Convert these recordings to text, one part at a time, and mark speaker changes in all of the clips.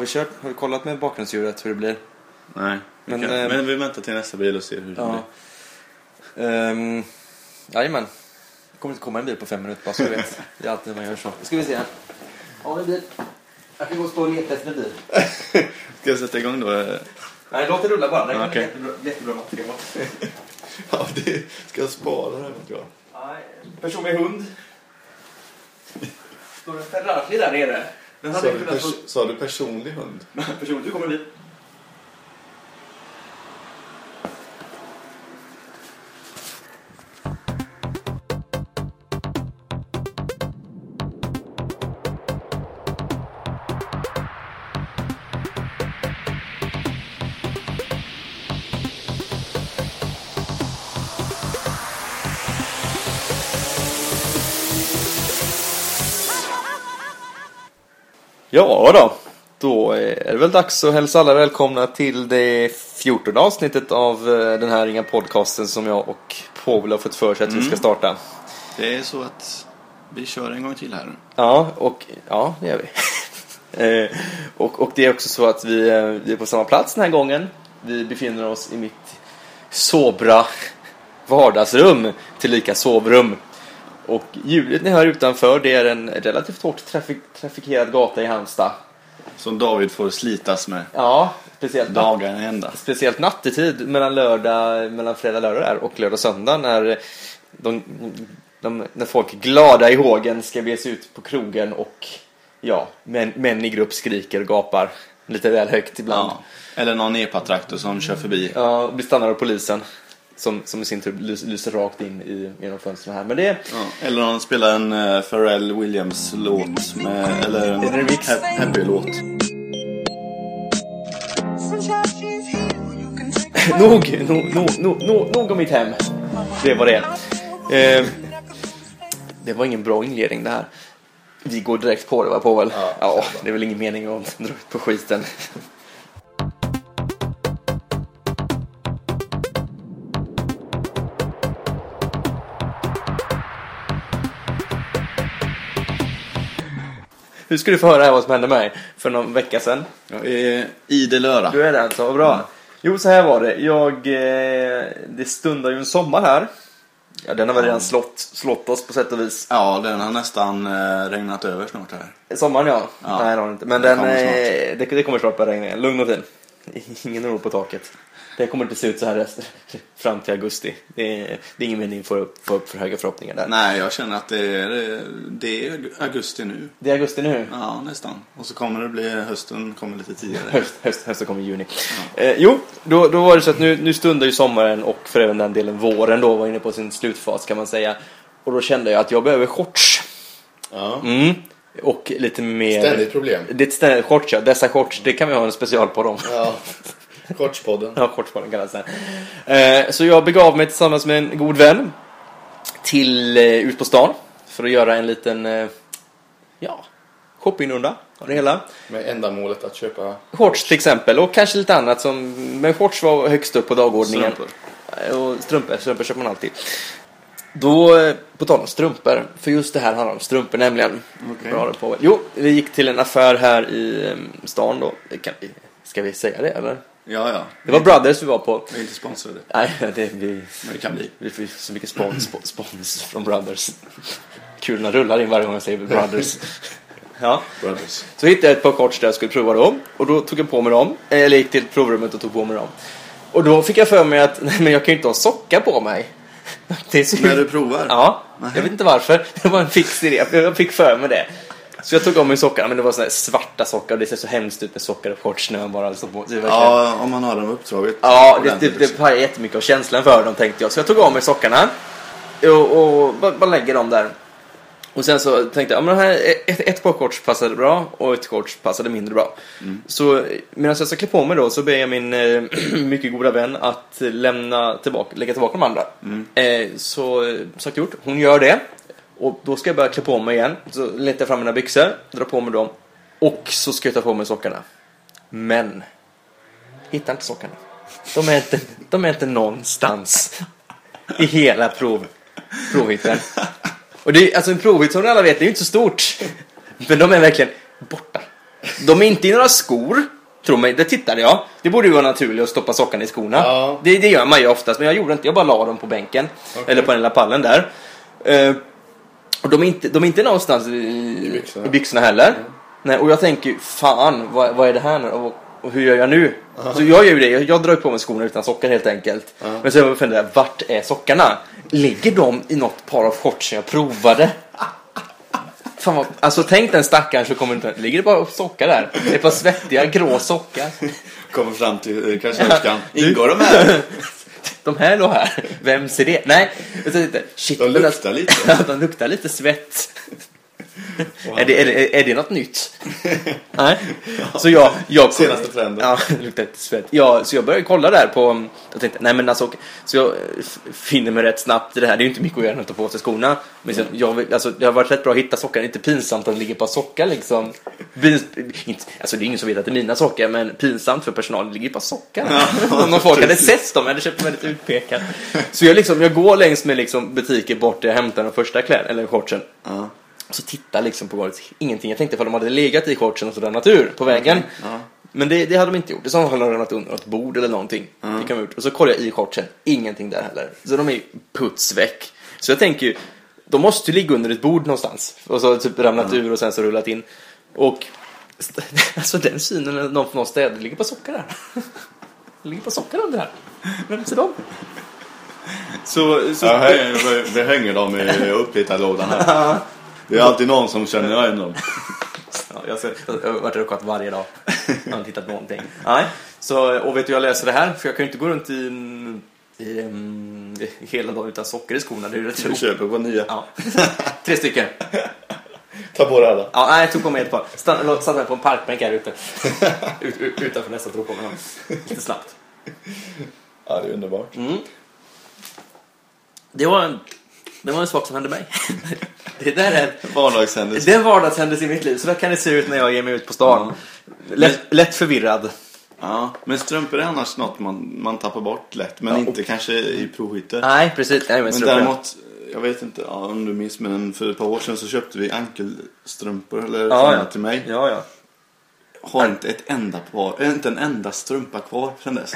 Speaker 1: vi kört? Har vi kollat med bakgrundsljudet hur det blir?
Speaker 2: Nej. vi
Speaker 1: Men,
Speaker 2: kan,
Speaker 1: eh,
Speaker 2: men ehm, vi väntar till nästa bil och ser hur det
Speaker 1: Ja.
Speaker 2: blir.
Speaker 1: Ehm, jajamän. Det kommer inte komma en bil på fem minuter bara så du vet. Det är alltid man gör så. Ska vi se här. Har vi en bil? Jag kan gå och stå och leta efter en bil.
Speaker 2: Ska jag sätta igång då? eh?
Speaker 1: Nej, låt det rulla bara. Det
Speaker 2: Ja,
Speaker 1: är
Speaker 2: okej.
Speaker 1: jättebra, jättebra material.
Speaker 2: Ja, det, ska jag spara det här materialet?
Speaker 1: Nej, Person med hund. Står en Ferrari där nere? Den
Speaker 2: Sa
Speaker 1: hade
Speaker 2: du,
Speaker 1: kunnat
Speaker 2: pers
Speaker 1: få...
Speaker 2: sa du personlig hund?
Speaker 1: Person, du kommer dit. Ja då, då är det väl dags att hälsa alla välkomna till det fjortonde avsnittet av eh, den här inga podcasten som jag och Paul har fått för sig att vi ska starta.
Speaker 2: Det är så att vi kör en gång till här.
Speaker 1: Ja, och ja, det gör vi. Eh, och, och det är också så att vi, eh, vi är på samma plats den här gången. Vi befinner oss i mitt sobra vardagsrum, tillika sovrum. Och ljudet ni hör utanför det är en relativt hårt trafik trafikerad gata i Halmstad.
Speaker 2: Som David får slitas med
Speaker 1: Ja, speciellt natt-
Speaker 2: dagarna ända.
Speaker 1: Speciellt nattetid mellan, lördag, mellan fredag lördag där och lördag söndag när, de, de, när folk glada i hågen ska bege sig ut på krogen och ja, män, män i grupp skriker och gapar lite väl högt ibland.
Speaker 2: Ja. Eller någon epa-traktor som kör förbi.
Speaker 1: Ja, och blir stannade av polisen som, som i sin tur lys- lyser rakt in i, genom fönstren här. Men det är
Speaker 2: Ja. Eller någon spelar en eh, Pharrell Williams-låt. med- Eller en
Speaker 1: En remix.
Speaker 2: Ha- Happy-låt.
Speaker 3: Nog!
Speaker 1: nog, nog, nog, nog, nog, nog om mitt hem. Det var det. är. Eh, Det var ingen bra inledning det här. Vi går direkt på det va Povel?
Speaker 2: Ja,
Speaker 1: ja det är väl ingen mening att dra ut på skiten. Nu ska du få höra här vad som hände mig för någon vecka sedan.
Speaker 2: Jag är idel öra.
Speaker 1: Du är det alltså, vad bra. Jo, så här var det. Jag, eh, det stundar ju en sommar här. Ja, den har väl redan slått, slått oss på sätt och vis.
Speaker 2: Ja, den har nästan eh, regnat över snart här.
Speaker 1: Sommaren ja.
Speaker 2: Ja.
Speaker 1: Nej det har den inte. Men
Speaker 2: Den
Speaker 1: den,
Speaker 2: kommer
Speaker 1: eh,
Speaker 2: snart.
Speaker 1: det, det kommer snart börja regna igen. Lugn och fin. Ingen oro på taket. Det kommer inte se ut så här resten, fram till augusti. Det är, det är ingen mening att få upp, få upp för höga förhoppningar där.
Speaker 2: Nej, jag känner att det är, det är augusti nu.
Speaker 1: Det är augusti nu.
Speaker 2: Ja, nästan. Och så kommer det bli, hösten kommer lite tidigare.
Speaker 1: Höst, höst, höst så kommer juni. Eh, jo, då, då var det så att nu, nu stundar ju sommaren och för även den delen våren då var inne på sin slutfas kan man säga. Och då kände jag att jag behöver shorts.
Speaker 2: Ja.
Speaker 1: Mm. Och lite mer...
Speaker 4: Ständigt problem.
Speaker 1: Det är ett ständigt shorts ja. Dessa shorts, det kan vi ha en specialpodd om.
Speaker 4: Ja. Shortspodden.
Speaker 1: Ja, Kortspåren kallas den. Eh, Så jag begav mig tillsammans med en god vän till eh, ut på stan för att göra en liten eh, ja, shoppingrunda av det hela.
Speaker 4: Med ändamålet att köpa
Speaker 1: Shorts till exempel och kanske lite annat som, men shorts var högst upp på dagordningen.
Speaker 2: Strumpor.
Speaker 1: Eh, Och strumpor, strumpor köper man alltid. Då, eh, på tal om strumpor, för just det här handlar om strumpor nämligen.
Speaker 2: Okej.
Speaker 1: Bra, det på. Jo, vi gick till en affär här i eh, stan då. Kan vi, ska vi säga det eller?
Speaker 2: Ja, ja.
Speaker 1: Det var Brothers vi var på.
Speaker 2: Vi är inte sponsrade,
Speaker 1: Nej, det, vi,
Speaker 2: men det kan bli.
Speaker 1: vi får så mycket spons, spo- spons från Brothers. Kulorna rullar in varje gång jag säger Brothers. Ja.
Speaker 2: Brothers.
Speaker 1: Så hittade jag ett par shorts där jag skulle prova dem. Och då tog jag på mig dem. Eh, Eller gick till provrummet och tog på mig dem. Och då fick jag för mig att nej, men jag kan ju inte ha sockar på mig. Det ser ju-
Speaker 2: När du provar?
Speaker 1: Ja,
Speaker 2: Nej.
Speaker 1: jag vet inte varför. Det var en fix idé. Jag fick för mig det. Så jag tog av mig sockarna, men det var såna här svarta sockar och det ser så hemskt ut med sockar och shorts när man bara står på sig.
Speaker 2: Ja, om man har dem uppdraget.
Speaker 1: Ja, det, det,
Speaker 2: ordentligt,
Speaker 1: det pajar jättemycket av känslan för dem tänkte jag. Så jag tog av mig sockarna och, och bara, bara lägger dem där. Och sen så tänkte jag, ja, men här, ett, ett par shorts passade bra och ett shorts passade mindre bra. Så medan jag ska klä på mig då så ber jag min eh, mycket goda vän att lämna tillbaka, lägga tillbaka de andra. Eh, så eh, sagt och gjort, hon gör det. Och då ska jag börja klä på mig igen. Så letar jag fram mina byxor, drar på mig dem. Och så ska jag ta på mig sockarna. Men, hittar inte sockarna. De är inte, de är inte någonstans i hela prov, provhytten. Och det är, alltså en provhytt som ni alla vet, det är ju inte så stort. Men de är verkligen borta. De är inte i några skor. Tro mig, det tittade jag. Det borde ju vara naturligt att stoppa sockarna i skorna.
Speaker 4: Ja.
Speaker 1: Det, det gör man ju oftast, men jag gjorde inte. Jag bara la dem på bänken. Eller på den lilla pallen där. Eh, och de är inte, de är inte någonstans i,
Speaker 4: byxorna.
Speaker 1: i byxorna heller. Nej, och jag tänker ju, fan, vad, vad är det här nu? Och, och hur gör jag nu? Så jag gör ju det. Jag, jag drar ju på mig skorna utan sockar helt enkelt. Men så funderar jag, vart är sockarna? Ligger de i något par av shortsen jag provade? Fan vad, alltså tänk den stackaren som kommer inte Ligger det bara sockar där? Det är ett par svettiga grå sockar.
Speaker 2: Kommer fram till eh, kassörskan. Ingår de här?
Speaker 1: De här låg här. Vem ser det? Nej, jag tänkte inte. Shit,
Speaker 2: De
Speaker 1: men det-
Speaker 2: luktar lite.
Speaker 1: Ja, de luktar lite svett. Är det, är, det, är det något nytt? Nej. Så jag, jag
Speaker 2: Senaste trenden.
Speaker 1: Ja, det luktar lite svett. Ja, så jag började kolla där på... Jag tänkte, nej men alltså, okej. Så jag eh, f- finner mig rätt snabbt i det här. Det är ju inte mycket att göra än att ta på sig skorna. Men sen, jag, vill- alltså, det har varit rätt bra att hitta sockar. Det är inte pinsamt att det ligger på sockar liksom. Pins, inte, alltså det är ingen som vet att det är mina sockar, men pinsamt för personalen det ligger på sockar. Om de folk hade
Speaker 2: precis.
Speaker 1: sett dem, jag hade köpt mig väldigt utpekad. Så jag, liksom, jag går längs med liksom butiker bort där jag hämtar den första kläden, eller shortsen.
Speaker 2: Ja.
Speaker 1: Så tittar liksom på golvet, ingenting. Jag tänkte för de hade legat i shortsen och så ramlat ur på vägen. Men det, det hade de inte gjort. I så fall hade de ramlat under ett bord eller någonting. Det kan de ha gjort. Och så kollar jag i shortsen, ingenting där heller. Så de är ju putsväck. Så jag tänker ju, de måste ju ligga under ett bord någonstans. Och så typ ramlat ur och sen så rullat in. Och alltså den synen när någon från oss städar, det ligger på sockar där. Det ligger på sockar under här. Vem ser dem?
Speaker 2: Så, så... Ja, här, vi- vi hänger dem i upplitarlådan här. Det är alltid någon som känner igen dem.
Speaker 1: Ja, jag, ser, jag har varit ruckat varje dag. Jag har inte hittat någonting. Nej. Så, och vet du hur jag läser det här? För jag kan ju inte gå runt i, en- i, en- hela dagen utan socker i skorna. Det är ju rätt
Speaker 2: Vi
Speaker 1: roligt.
Speaker 2: köper på nya.
Speaker 1: Ja. Tre stycken.
Speaker 4: Ta på dig alla.
Speaker 1: Ja, nej, jag tog på mig ett par. Stann- låt- Satte mig på en parkbänk här ute. Ut, ut, utanför nästa drog på mig dem. Lite snabbt.
Speaker 4: Ja, det är underbart.
Speaker 2: Mm,
Speaker 1: Det var en, det var en sak som hände mig. Det där är
Speaker 2: Vardagshändelse.
Speaker 1: det är en vardagshändelse i mitt liv. Så där kan det se ut när jag ger mig ut på stan. Lätt, lätt förvirrad.
Speaker 2: Ja, men strumpor är annars något man, man tappar bort lätt. Men inte kanske i provskytte.
Speaker 1: Nej, precis. Nej, men
Speaker 2: Men
Speaker 1: strumpor.
Speaker 2: däremot, jag vet inte ja, om du minns men för ett par år sedan så köpte vi ankelstrumpor eller
Speaker 1: Ja,
Speaker 2: såna
Speaker 1: ja.
Speaker 2: till mig.
Speaker 1: Ja, ja.
Speaker 2: Har inte ett enda par, eh, inte en enda strumpa kvar sedan dess.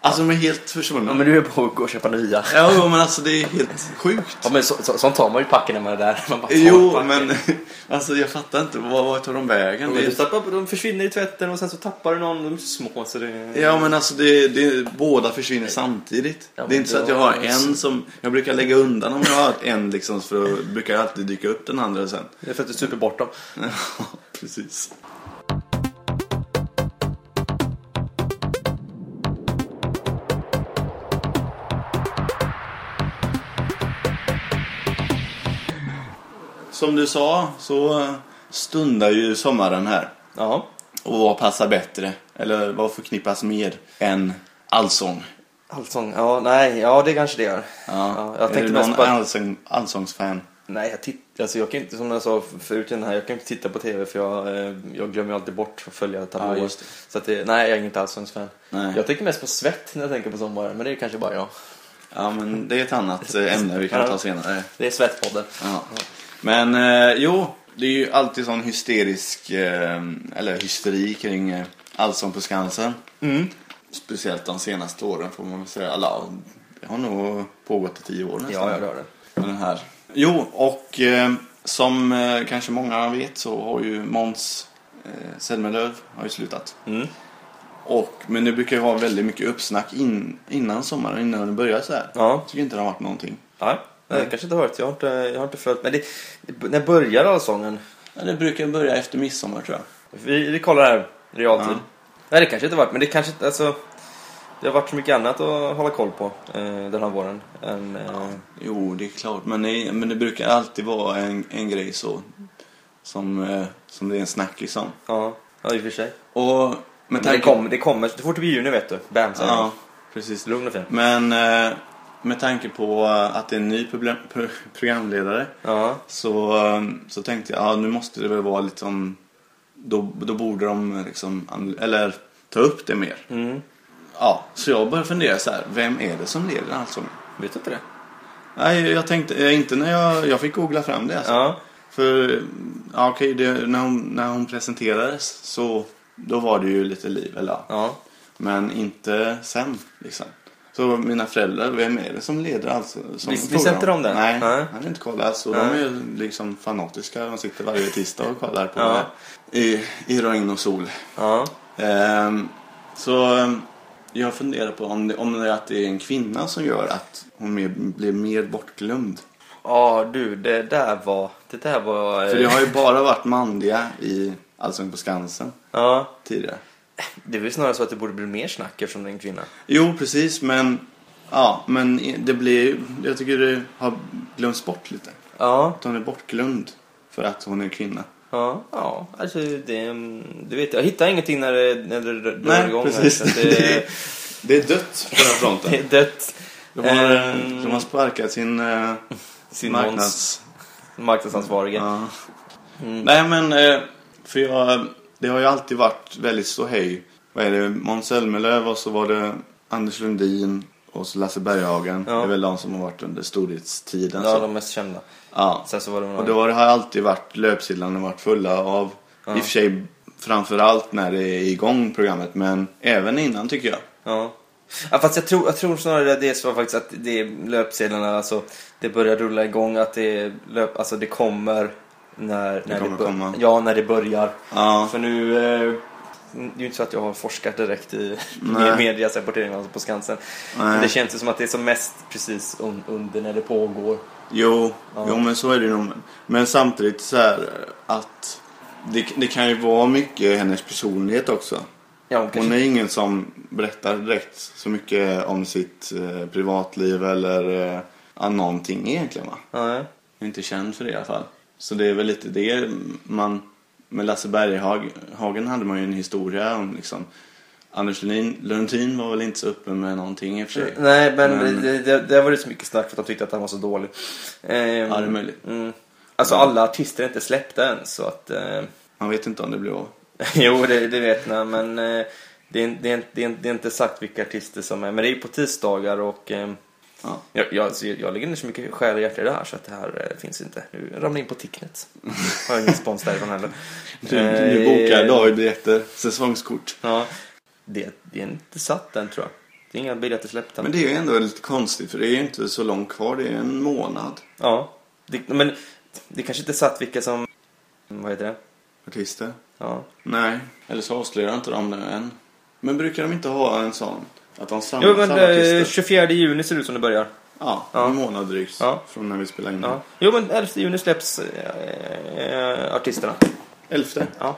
Speaker 2: Alltså de är helt försvunna.
Speaker 1: Ja, men du är på att gå och köpa nya.
Speaker 2: Ja jo, men alltså det är helt sjukt.
Speaker 1: Ja, men så, så, sånt tar man ju packen när man är där. Man bara tar
Speaker 2: Jo
Speaker 1: packen.
Speaker 2: men alltså jag fattar inte, vad- vart tar de vägen?
Speaker 1: Men
Speaker 2: Det
Speaker 1: du
Speaker 2: är,
Speaker 1: tappar, de försvinner i tvätten och sen så tappar du någon. De är så små så det...
Speaker 2: ja men alltså det, det, båda försvinner samtidigt.
Speaker 1: Ja, men
Speaker 2: det är inte så
Speaker 1: då-
Speaker 2: att jag har en som, jag brukar lägga undan om jag har en liksom för då brukar jag alltid dyka upp den andra sen.
Speaker 1: Det är för att du super bort dem.
Speaker 2: Ja, precis. Som du sa så eh, stundar ju sommaren här.
Speaker 1: Ja.
Speaker 2: Och vad passar bättre, eller vad förknippas mer än allsång?
Speaker 1: Allsång. Ja, nej. Ja, det kanske det gör. jag
Speaker 2: är du
Speaker 1: tänkte
Speaker 2: någon
Speaker 1: mest på att...
Speaker 2: allsång, allsångsfan?
Speaker 1: Nej, jag tittar... Alltså, jag kan ju inte, som jag sa förut i den här, jag kan ju inte titta på TV för jag, eh, jag glömmer ju alltid bort att följa tablåer.
Speaker 2: Ja, just det.
Speaker 1: Så att det, nej, jag är inte alls en fan.
Speaker 2: Nej.
Speaker 1: Jag tänker mest på svett när jag tänker på sommaren, men det är kanske bara jag.
Speaker 2: Ja, men det är ett annat eh, ämne vi kan ta senare.
Speaker 1: Det är svettpodden.
Speaker 2: Ja. Men eh, jo, det är ju alltid sån hysterisk, eh, eller hysteri kring eh, Allsång på Skansen.
Speaker 1: Mm.
Speaker 2: Speciellt de senaste åren får man väl säga. Alla, det har nog pågått i tio år nästan.
Speaker 1: Ja, ja, det har det.
Speaker 2: Med den här. Jo, och eh, som eh, kanske många vet så har ju Måns eh, Zelmerlöw har ju slutat.
Speaker 1: Mm.
Speaker 2: Och, men det brukar ju vara väldigt mycket uppsnack in, innan sommaren, innan det börjar så här.
Speaker 1: Ja.
Speaker 2: Jag tycker inte det har varit någonting.
Speaker 1: Nej, nej, det kanske inte hört. Jag har inte, jag har inte följt. Men det, det, när börjar allsången?
Speaker 2: Ja, det brukar börja efter midsommar tror jag.
Speaker 1: Vi, vi kollar här i realtid.
Speaker 2: Ja.
Speaker 1: Nej, det kanske inte varit, men det kanske inte, alltså. Det har varit så mycket annat att hålla koll på eh, den här våren. Än, eh,
Speaker 2: Jo, det är klart. Men det, men det brukar alltid vara en, en grej så. Som, eh, som det är en snackis om.
Speaker 1: ja. ja, i och för sig.
Speaker 2: Och med
Speaker 1: Men det,
Speaker 2: tanke...
Speaker 1: kom, det kommer, så fort det blir juni vet du. Bam, säger
Speaker 2: Ja,
Speaker 1: ja.
Speaker 2: precis.
Speaker 1: Lugn och fin.
Speaker 2: Men eh, med tanke på eh, att det är en ny problem, pro, programledare.
Speaker 1: Ja,
Speaker 2: Så, eh, så tänkte jag, ja nu måste det väl vara liksom... Då, då borde de liksom, an- eller ta upp det mer.
Speaker 1: mm.
Speaker 2: Ja, så jag började fundera så här, vem är det som leder Allsången?
Speaker 1: Vet du inte det?
Speaker 2: Nej, jag tänkte, eh, inte när jag, jag fick googla fram det alltså.
Speaker 1: Ja.
Speaker 2: För ja, okej, det, när, hon, när hon presenterades så då var det ju lite liv. Eller, ja.
Speaker 1: Ja.
Speaker 2: Men inte sen liksom. Så mina föräldrar, vem är det som leder alltså? Som
Speaker 1: Vi- vi
Speaker 2: frågar
Speaker 1: sätter dem
Speaker 2: om?
Speaker 1: där.
Speaker 2: Nej,
Speaker 1: Nej.
Speaker 2: han har inte kollat. Alltså, de
Speaker 1: Nej.
Speaker 2: är ju liksom fanatiska. De sitter varje tisdag och kollar på
Speaker 1: Ja.
Speaker 2: det här. I, i regn och sol.
Speaker 1: Ja.
Speaker 2: Ehm, så ehm, jag funderar på om det, om det är att det är en kvinna som gör att hon mer, blir mer bortglömd.
Speaker 1: Ja, du, det där var... Det där var...
Speaker 2: För det har ju bara varit manliga i Allsång på Skansen
Speaker 1: Ja.
Speaker 2: tidigare.
Speaker 1: Det är väl snarare så att det borde bli mer snack eftersom det är en kvinna.
Speaker 2: Jo, precis, men ja, men i- det blir jag tycker det har glömts bort lite.
Speaker 1: Ja.
Speaker 2: Att hon är bortglömd för att hon är kvinna.
Speaker 1: Ja, ja. Alltså, det, mm, du vet, jag hittar ingenting när det, när det drar
Speaker 2: Nej,
Speaker 1: igång. här,
Speaker 2: precis.
Speaker 1: så att Det,
Speaker 2: Det är dött på den fronten.
Speaker 1: det är dött.
Speaker 2: De har,
Speaker 1: Ehm,
Speaker 2: de har sparkat sin, eh,
Speaker 1: Sin marknads,
Speaker 2: marknads...
Speaker 1: marknadsansvarige.
Speaker 2: Ja.
Speaker 1: Mm.
Speaker 2: Nej men, eh, för jag, det har ju alltid varit väldigt ståhej. Vad är det? Måns Zelmerlöw och så var det Anders Lundin och så Lasse Berghagen.
Speaker 1: Ja.
Speaker 2: Det är väl de som har varit under storhetstiden.
Speaker 1: Ja,
Speaker 2: så.
Speaker 1: de mest kända.
Speaker 2: Ja.
Speaker 1: Sen så var det några...
Speaker 2: Och då har det har alltid varit löpsedlarna har varit fulla av.
Speaker 1: Ja.
Speaker 2: I och för sig framförallt när det är igång programmet men även innan tycker jag.
Speaker 1: Ja. ja fast jag tror, jag tror snarare att det är så faktiskt att det är löpsedlarna, alltså det börjar rulla igång, att det, är löp, alltså, det kommer när, när det,
Speaker 2: kommer
Speaker 1: bör-
Speaker 2: komma.
Speaker 1: Ja, när det börjar.
Speaker 2: Ja.
Speaker 1: För nu, eh, det är ju inte så att jag har forskat direkt i
Speaker 2: Nej.
Speaker 1: i medias rapportering alltså på Skansen. Men det
Speaker 2: Nej.
Speaker 1: känns ju som att det är som mest precis un, under när det pågår.
Speaker 2: Jo,
Speaker 1: Ja.
Speaker 2: jo men så är det ju nog. Men samtidigt så här att det, det kan ju vara mycket hennes personlighet också.
Speaker 1: Ja, hon
Speaker 2: Hon
Speaker 1: kanske...
Speaker 2: är ingen som berättar direkt så mycket om sitt eh, privatliv eller eh, ja, någonting egentligen va?
Speaker 1: Nej.
Speaker 2: Jag är inte känd för det i alla fall. Så det är väl lite det man... Med Lasse Berghagen hade man ju en historia om liksom... Anders Lundin, Lundin var väl inte så uppe med någonting i och för sig.
Speaker 1: Nej, men,
Speaker 2: Men-
Speaker 1: Det, det, det var det så mycket snack för att de tyckte att han var så dålig. Ehm,
Speaker 2: Ja, det är möjligt.
Speaker 1: Mm. Alltså alla artister är inte släppta än så att... Eh,
Speaker 2: Man vet inte om det blev av.
Speaker 1: jo, det, det vet jag men eh, det, är, det, är, det, är, det är inte sagt vilka artister som är. Men det är ju på tisdagar och eh,
Speaker 2: Ja.
Speaker 1: jag, jag, alltså, jag lägger inte så mycket själ och hjärta i det här så att det här eh, finns inte. Nu ramlar jag in på Ticknet. Har jag ingen spons därifrån heller. Eh,
Speaker 2: Du, nu bokar David biljetter, säsongskort.
Speaker 1: Ja, det, det är inte satt än tror jag. Det är inga biljetter släppta.
Speaker 2: Men det är ju ändå lite konstigt för det är ju inte så långt kvar, det är en månad.
Speaker 1: Ja, det, men det kanske inte satt vilka som... Vad heter det?
Speaker 2: Artister.
Speaker 1: Ja.
Speaker 2: Nej, eller så avslöjar inte de det än. Men brukar de inte ha en sån? Att de samlas
Speaker 1: Jo, men
Speaker 2: alla artister?
Speaker 1: eh, 24 juni ser det ut som det börjar.
Speaker 2: Ja,
Speaker 1: Ja.
Speaker 2: en månad drygt
Speaker 1: Ja.
Speaker 2: från när vi spelar in.
Speaker 1: Ja. Jo, men 11 juni släpps eh, eh, artisterna.
Speaker 2: Elfte?
Speaker 1: Ja.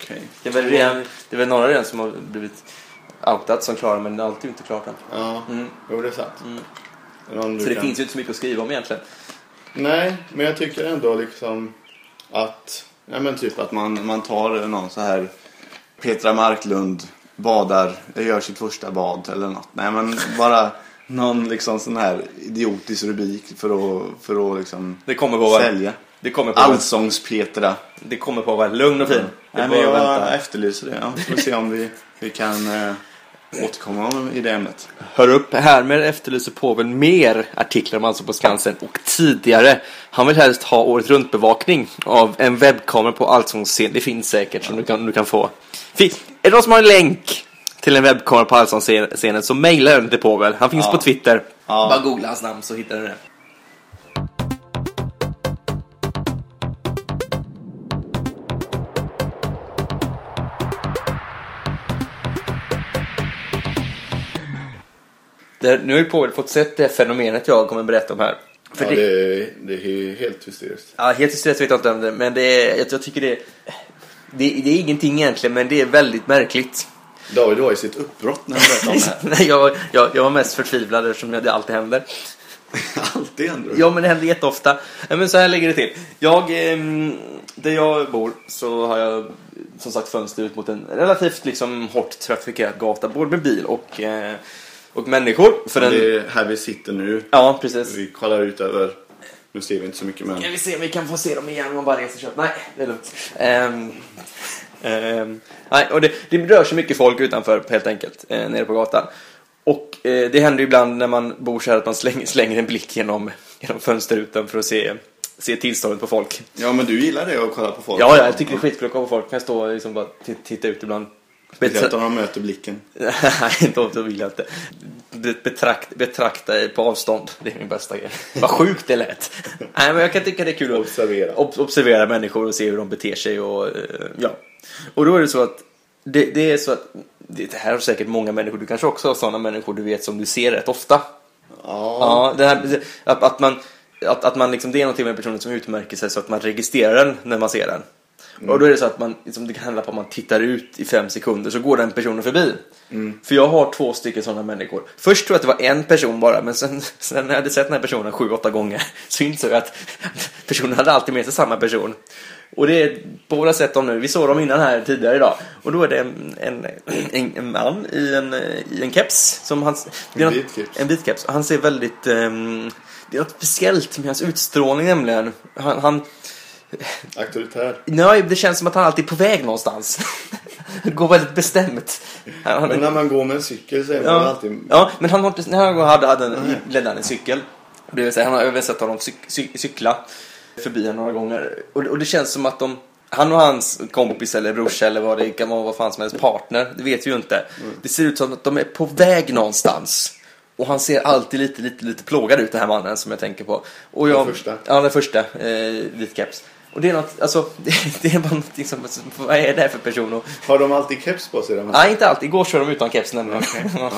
Speaker 2: Okej.
Speaker 1: Det är, väl redan, det är väl några redan som har blivit outat som klara, men allt är ju inte klart än.
Speaker 2: Ja,
Speaker 1: Mm.
Speaker 2: jo det är sant. Eller om du
Speaker 1: Så det
Speaker 2: kan-
Speaker 1: finns ju inte så mycket att skriva om egentligen.
Speaker 2: Nej, men jag tycker ändå liksom att... Ja men typ att man, man tar någon så här Petra Marklund badar, gör sitt första bad eller något. Nej men bara någon liksom sån här idiotisk rubrik för att, för att liksom
Speaker 1: Det kommer på att vara,
Speaker 2: sälja.
Speaker 1: det kommer på, att-
Speaker 2: Allsångs-Petra.
Speaker 1: det kommer på att vara lugn och fin. Det är
Speaker 2: Nej men
Speaker 1: bara
Speaker 2: jag
Speaker 1: att vänta.
Speaker 2: efterlyser det. Ja, får vi se om vi, vi kan eh, återkomma om- i det ämnet.
Speaker 1: Hör upp, härmed efterlyser påven mer artiklar om Allsång på Skansen och tidigare. Han vill helst ha året runt bevakning av en webbkamera på Allsångsscen. Det finns säkert som du kan, du kan få. Finns, är det någon som har en länk till en webbkamera på Allsångsscenen så mejla den till påven. Han finns
Speaker 2: Ja.
Speaker 1: på Twitter.
Speaker 2: Ja.
Speaker 1: Bara googla hans namn så hittar du det. Det, nu har ju Paul fått sett det fenomenet jag kommer berätta om här. För
Speaker 4: ja,
Speaker 1: det,
Speaker 4: det, är- det är ju helt hysteriskt.
Speaker 1: Ja, helt hysteriskt vet jag inte om det men det är, jag, jag tycker det, det Det är ingenting egentligen, men det är väldigt märkligt.
Speaker 4: David var i sitt upprott när han berättade om det här.
Speaker 1: Nej, jag, jag, jag var mest förtvivlad eftersom det alltid händer.
Speaker 2: Alltid ändå.
Speaker 1: Ja, men det händer jätteofta. Nej, Men så här ligger det till. Jag, ehm, där jag bor så har jag som sagt fönster ut mot en relativt liksom hårt trafikerad gata, både med bil och, eh, och människor. För den,
Speaker 2: Det är här vi sitter nu.
Speaker 1: ja, precis.
Speaker 2: Vi kollar ut över... Nu ser vi inte så mycket men...
Speaker 1: Ska vi se om vi kan få se dem igen om man bara reser sig upp. Nej, det är lugnt. Ehm, ehm, nej, och det, det rör sig mycket folk utanför helt enkelt, eh, nere på gatan. Och eh, det händer ju ibland när man bor så här att man slänger, slänger en blick genom, genom fönsterrutan för att se se tillståndet på folk.
Speaker 2: Ja, men du gillar det att kolla på folk?
Speaker 1: Ja, ja, jag tycker det är skitkul att kolla på folk. Kan stå och liksom bara t- titta ut ibland.
Speaker 2: Speciellt
Speaker 1: Bet-
Speaker 2: om de möter blicken.
Speaker 1: Nej, inte ofta vill jag inte. Be- Betrakt, betrakta på avstånd. Det är min bästa grej. Vad sjukt det lät. Nej, men jag kan tycka det är kul att
Speaker 4: Observera.
Speaker 1: ob- observera människor och se hur de beter sig och eh, ja. Och då är det så att det, det är så att det det här har säkert många människor. Du kanske också har sådana människor du vet som du ser rätt ofta.
Speaker 2: Ja.
Speaker 1: Ja, det här, att, att man, att, att man liksom, det är någonting med personen som utmärker sig så att man registrerar den när man ser den. Och då är det så att man, liksom, det kan handla på att man tittar ut i fem sekunder så går den personen förbi. För jag har två stycken sådana människor. Först tror jag att det var en person bara, men sen, sen när jag hade sett den här personen sju, åtta gånger så insåg jag att personen hade alltid med sig samma person. Och det är på våra sätt om nu. Vi såg dem innan här tidigare idag. Och då är det en, en, en, en man i en, i en keps. Som han, det är
Speaker 4: En
Speaker 1: något-
Speaker 4: vit keps.
Speaker 1: en vit keps. Han ser väldigt... ehm, det är något speciellt med hans utstrålning nämligen. Han, han,
Speaker 4: Auktoritär.
Speaker 1: nej, det känns som att han alltid är på väg någonstans. Går väldigt bestämt. Han, han,
Speaker 4: Men när man går med en cykel så är man
Speaker 1: ja,
Speaker 4: alltid...
Speaker 1: ja, men han, har- när han hade, hade en, ledde han en cykel. Det vill säga, han har även sett honom cyk, cyk, cykla förbi honom några gånger. Och, och det känns som att de, han och hans kompis eller brorsa eller vad det kan vara, vad fan som helst, partner, det vet vi ju inte.
Speaker 4: Mm.
Speaker 1: Det ser ut som att de är på väg någonstans. Och han ser alltid lite, lite, lite plågad ut den här mannen som jag tänker på. Och jag,
Speaker 4: Den första.
Speaker 1: Ja, den första. Eh, vit keps. Och det är något, alltså, det, det är bara någonting som, vad är det här för person? Och,
Speaker 4: Har de alltid keps på sig? De här?
Speaker 1: nej, inte alltid. Igår körde de utan keps nämligen.
Speaker 4: Ja.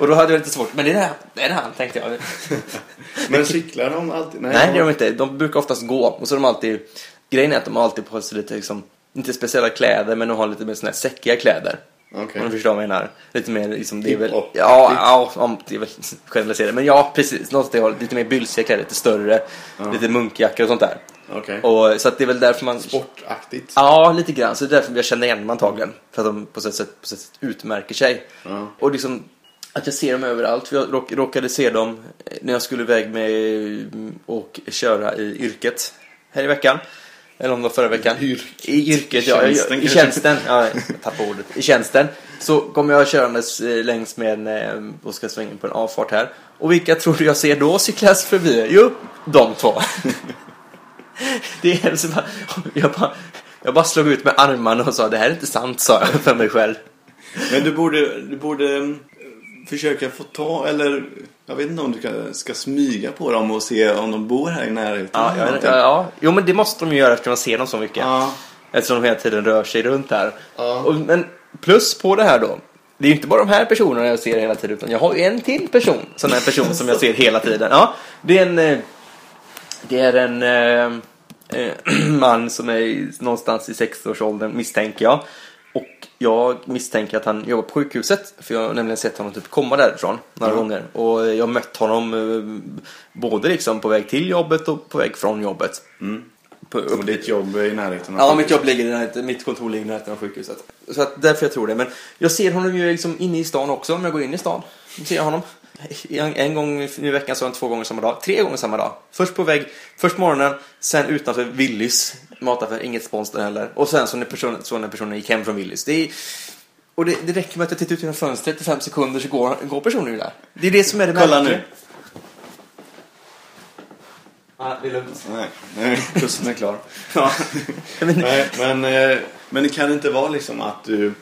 Speaker 1: Och då hade jag lite svårt, men det är det, här, det, är det han tänkte jag.
Speaker 4: Men cyklar de alltid? Nej,
Speaker 1: Nej, det är
Speaker 4: de...
Speaker 1: de inte. De brukar oftast gå. Och så är de alltid, grejen är att de har alltid på sig lite, liksom, inte speciella kläder, men de har lite mer såna här säckiga kläder.
Speaker 4: Okej.
Speaker 1: Om du förstår vad jag menar. Lite mer liksom, det är väl, ja,
Speaker 4: Hiphop.
Speaker 1: ja, om, det är väl generaliserat. Men ja, precis. Något åt det hållet. Lite mer bylsiga kläder, lite större, lite munkjackor och sånt där.
Speaker 4: Okej.
Speaker 1: Och, så att det är väl därför man...
Speaker 4: Sportaktigt.
Speaker 1: Ja, lite grann. Så det är därför jag känner igen dem antagligen. För att de på sätt sätt, på sätt sätt utmärker sig.
Speaker 4: Ja.
Speaker 1: Och liksom att jag ser dem överallt. För jag råk, råkade se dem eh, när jag skulle iväg med mm, och köra i yrket här i veckan. Eller om det var förra veckan.
Speaker 4: Yrket.
Speaker 1: I yrket, ja.
Speaker 2: Tjänsten
Speaker 1: Tjänsten, I
Speaker 2: kanske.
Speaker 1: tjänsten. Ja, jag tappade ordet. I tjänsten. Så kommer jag körandes eh, längs med en, eh, och ska svänga in på en avfart här. Och vilka tror du jag ser då cyklas förbi? Jo, de två. Det är så bara, jag, bara, jag bara slog ut med armarna och sa det här är inte sant, sa jag för mig själv.
Speaker 2: Men du borde, du borde mm, försöka få ta, eller jag vet inte om du ska, ska smyga på dem och se om de bor här i närheten.
Speaker 1: Ja,
Speaker 2: eller
Speaker 1: ja,
Speaker 2: någonting.
Speaker 1: ja, ja. Jo, men det måste de ju göra eftersom man ser dem så mycket.
Speaker 2: Ja.
Speaker 1: Eftersom de hela tiden rör sig runt här.
Speaker 4: Ja.
Speaker 1: Och, men plus på det här då. Det är ju inte bara de här personerna jag ser hela tiden, utan jag har ju en till person. Sån här person som jag ser hela tiden. Ja, det är en... eh, Det är en eh, eh, man som är i- någonstans i 60-årsåldern, misstänker jag. Och jag misstänker att han jobbar på sjukhuset, för jag har nämligen sett honom typ komma därifrån några gånger. Och jag har mött honom eh, både liksom på väg till jobbet och på väg från jobbet. På, upp,
Speaker 2: Och ditt jobb är i närheten av
Speaker 1: Ja, mitt jobb ligger i närheten, mitt kontor ligger i närheten av sjukhuset. Så att därför jag tror det. Men jag ser honom ju liksom inne i stan också, om jag går in i stan. Då ser jag honom. En, en gång i veckan, så är han två gånger samma dag. Tre gånger samma dag. Först på väg, först morgonen, sen utanför Willys mataffär, inget spons där heller. Och sen så när personen, så när personen gick hem från Willys. Det är, och det, det räcker med att jag tittar ut genom fönstret i fem sekunder så går, går personen ju där. Det är det som är det
Speaker 2: Kolla
Speaker 1: märkliga.
Speaker 2: nu.
Speaker 1: Ja, det är lugnt.
Speaker 2: Nej, nej, kusten är klar.
Speaker 1: Ja. Men,
Speaker 2: Nej, men, eh, men det kan inte vara liksom att du,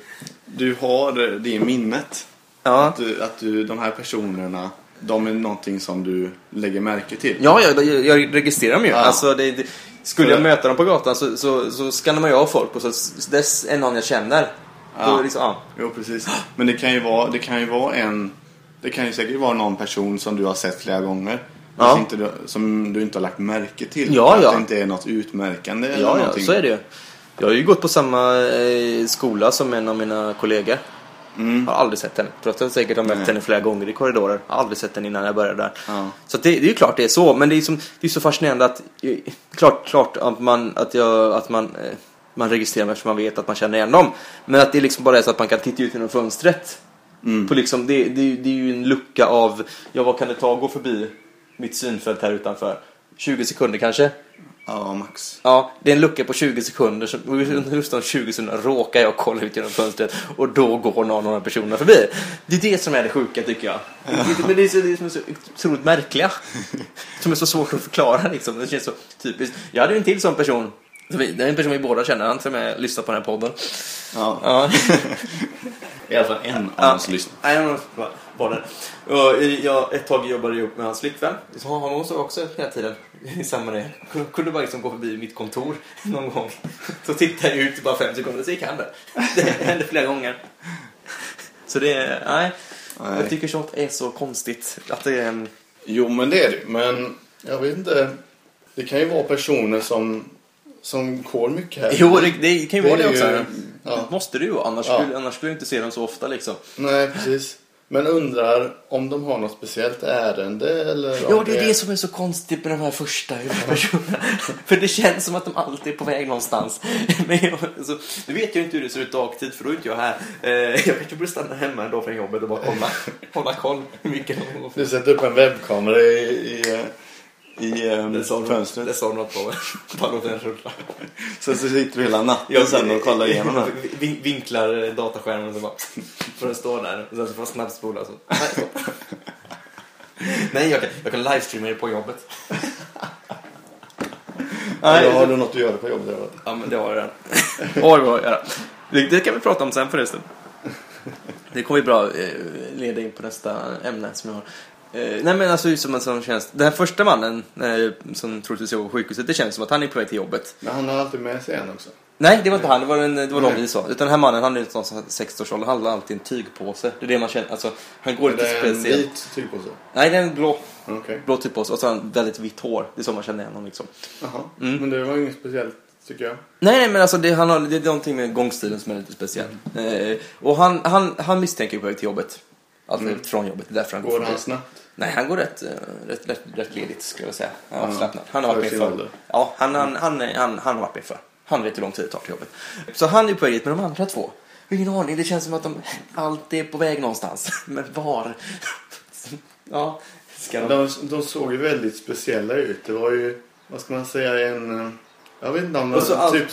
Speaker 2: du har eh, det minnet.
Speaker 1: ja.
Speaker 2: Att, du, att du, de här personerna, de är någonting som du lägger märke till.
Speaker 1: Ja, jag, jag, jag registrerar dem ju.
Speaker 2: Ja.
Speaker 1: Alltså, det, det, skulle jag
Speaker 2: Så-
Speaker 1: möta dem på gatan så, så, så skannar man ju av folk och så s- dess är någon jag känner.
Speaker 2: Ja.
Speaker 1: Då är det liksom, ja.
Speaker 2: Jo, precis. Men det kan ju vara, det kan ju vara en... Det kan ju säkert vara någon person som du har sett flera gånger. men
Speaker 1: Ja.
Speaker 2: Som, inte, du- som du inte har lagt märke till.
Speaker 1: Ja,
Speaker 2: för att
Speaker 1: ja.
Speaker 2: det inte är något utmärkande eller
Speaker 1: Ja, ja,
Speaker 2: någonting.
Speaker 1: så är det ju. Jag har ju gått på samma eh, skola som en av mina kollegor. Har aldrig sett henne. Trots att jag säkert har mött
Speaker 2: Mm. Nej.
Speaker 1: henne flera gånger i korridorer. Har aldrig sett henne innan jag började där.
Speaker 2: Ja.
Speaker 1: Så att det, det är ju klart det är så. Men det är, som, det är så fascinerande att... eh, Klart, klart att man, att jag, att man, eh, man registrerar mig eftersom man vet att man känner igen dem. Men att det liksom bara är så att man kan titta ut genom fönstret. På liksom, det, det, är ju- det är ju en lucka av... Ja, vad kan det ta att gå förbi mitt synfält här utanför? 20 sekunder kanske?
Speaker 2: Ja, max.
Speaker 1: Ja, det är en lucka på 20 sekunder. Så just de 20 sekunderna råkar jag kolla ut genom fönstret och då går någon av de här personerna förbi. Det är det som är det sjuka tycker jag. Men det är så- det är som är så otroligt märkliga. Som är så svårt att förklara liksom. Det känns så typiskt. Jag hade ju en till sån person. som vi- Det är en person vi båda känner, han som är lyssnar på den här podden.
Speaker 2: Ja.
Speaker 1: Ja.
Speaker 2: I alla fall en av
Speaker 1: Ja.
Speaker 2: oss lyssnar.
Speaker 1: Nej, han var där. Och jag, ett tag jobbade ihop med hans flickvän. Så Hon såg också hela tiden i samma det. Kunde- Kunde bara liksom gå förbi mitt kontor någon gång. Så tittade jag ut i bara fem sekunder, så gick han där. Det hände flera gånger. Så det, är- nej.
Speaker 2: Nej.
Speaker 1: Jag tycker sånt är så konstigt. Att det är en...
Speaker 4: Jo, men det är det ju. Men jag vet inte. Det kan ju vara personer som, som går mycket här.
Speaker 1: Jo, det, det kan ju
Speaker 4: Det
Speaker 1: vara det
Speaker 4: är
Speaker 1: också.
Speaker 4: ju-
Speaker 1: Det
Speaker 4: ja.
Speaker 1: måste det ju vara, annars,
Speaker 4: Ja.
Speaker 1: skulle, annars skulle jag inte se dem så ofta liksom.
Speaker 4: Nej, precis. Men undrar om de har något speciellt ärende eller om
Speaker 1: Ja, det är det som är så konstigt med de här första huvudpersonerna. för det känns som att de alltid är på väg någonstans. Men jag, alltså, nu vet jag inte hur det ser ut dagtid, för då är inte jag här. Eh, jag kanske borde stanna hemma en dag från jobbet och bara kolla, hålla koll hur mycket de går för.
Speaker 4: Du sätter upp en webbkamera i, i, eh, i eh,
Speaker 1: Det sa något-
Speaker 4: fönstret.
Speaker 1: det sa något på mig. Bara låt den rulla.
Speaker 2: Sen så sitter vi hela natten sen och kollar igenom den.
Speaker 1: Vin- Vinklar eh, dataskärmen och så bara får den stå där. Och sen så får jag snabbspola. Så. Nej, så. Nej, jag kan, jag kan livestreama det på jobbet.
Speaker 4: Eller har du något att göra på jobbet? eller vad?
Speaker 1: Ja, men det har jag redan. Oj, vad jag har. Det, det kan vi prata om sen förresten. Det kommer ju bra eh, leda in på nästa ämne som jag har. Eh, nej men alltså just som en sån tjänst. Den här första mannen eh, som troligtvis jobbar på sjukhuset, det känns som att han är på väg till jobbet.
Speaker 4: Men han har alltid med sig en också.
Speaker 1: Nej, det var inte han, det var, en, det var någon vi sa. Utan den här mannen, han är ju någonstans 60-årsåldern, han har alltid en tygpåse. Det är det man känner, alltså han går
Speaker 4: Men
Speaker 1: lite
Speaker 4: det är en
Speaker 1: speciellt.
Speaker 4: vit tygpåse.
Speaker 1: Nej, det är en blå,
Speaker 4: Okej.
Speaker 1: blå tygpåse och så har han väldigt vitt hår. Det är så man känner igen honom liksom.
Speaker 4: Jaha.
Speaker 1: Mm.
Speaker 4: Men det var inget speciellt tycker jag.
Speaker 1: Nej, nej men alltså det, han har, det är någonting med gångstilen som är lite speciell. Eh, och han, han, han misstänker på väg till jobbet. Alltså från jobbet, det är därför han går,
Speaker 4: Går
Speaker 1: förbi.
Speaker 4: han snabbt?
Speaker 1: Nej, han går rätt, eh, rätt, rätt, rätt ledigt skulle jag säga. Han är
Speaker 4: Ja.
Speaker 1: Avslappnad. Han har
Speaker 4: För
Speaker 1: varit med
Speaker 4: sin
Speaker 1: förr.
Speaker 4: ålder.
Speaker 1: Ja, han, han, han, är- han, han har varit med förr. Han vet hur lång tid det tar till jobbet. Så han är på väg dit, men de andra två? Jag har Ingen aning, det känns som att de alltid är på väg någonstans. Men var? ja, ska de...
Speaker 4: De, de såg ju väldigt speciella ut. Det var ju, vad ska man säga, en... eh, Jag vet inte om de
Speaker 1: Och så
Speaker 4: var
Speaker 1: all-
Speaker 4: typ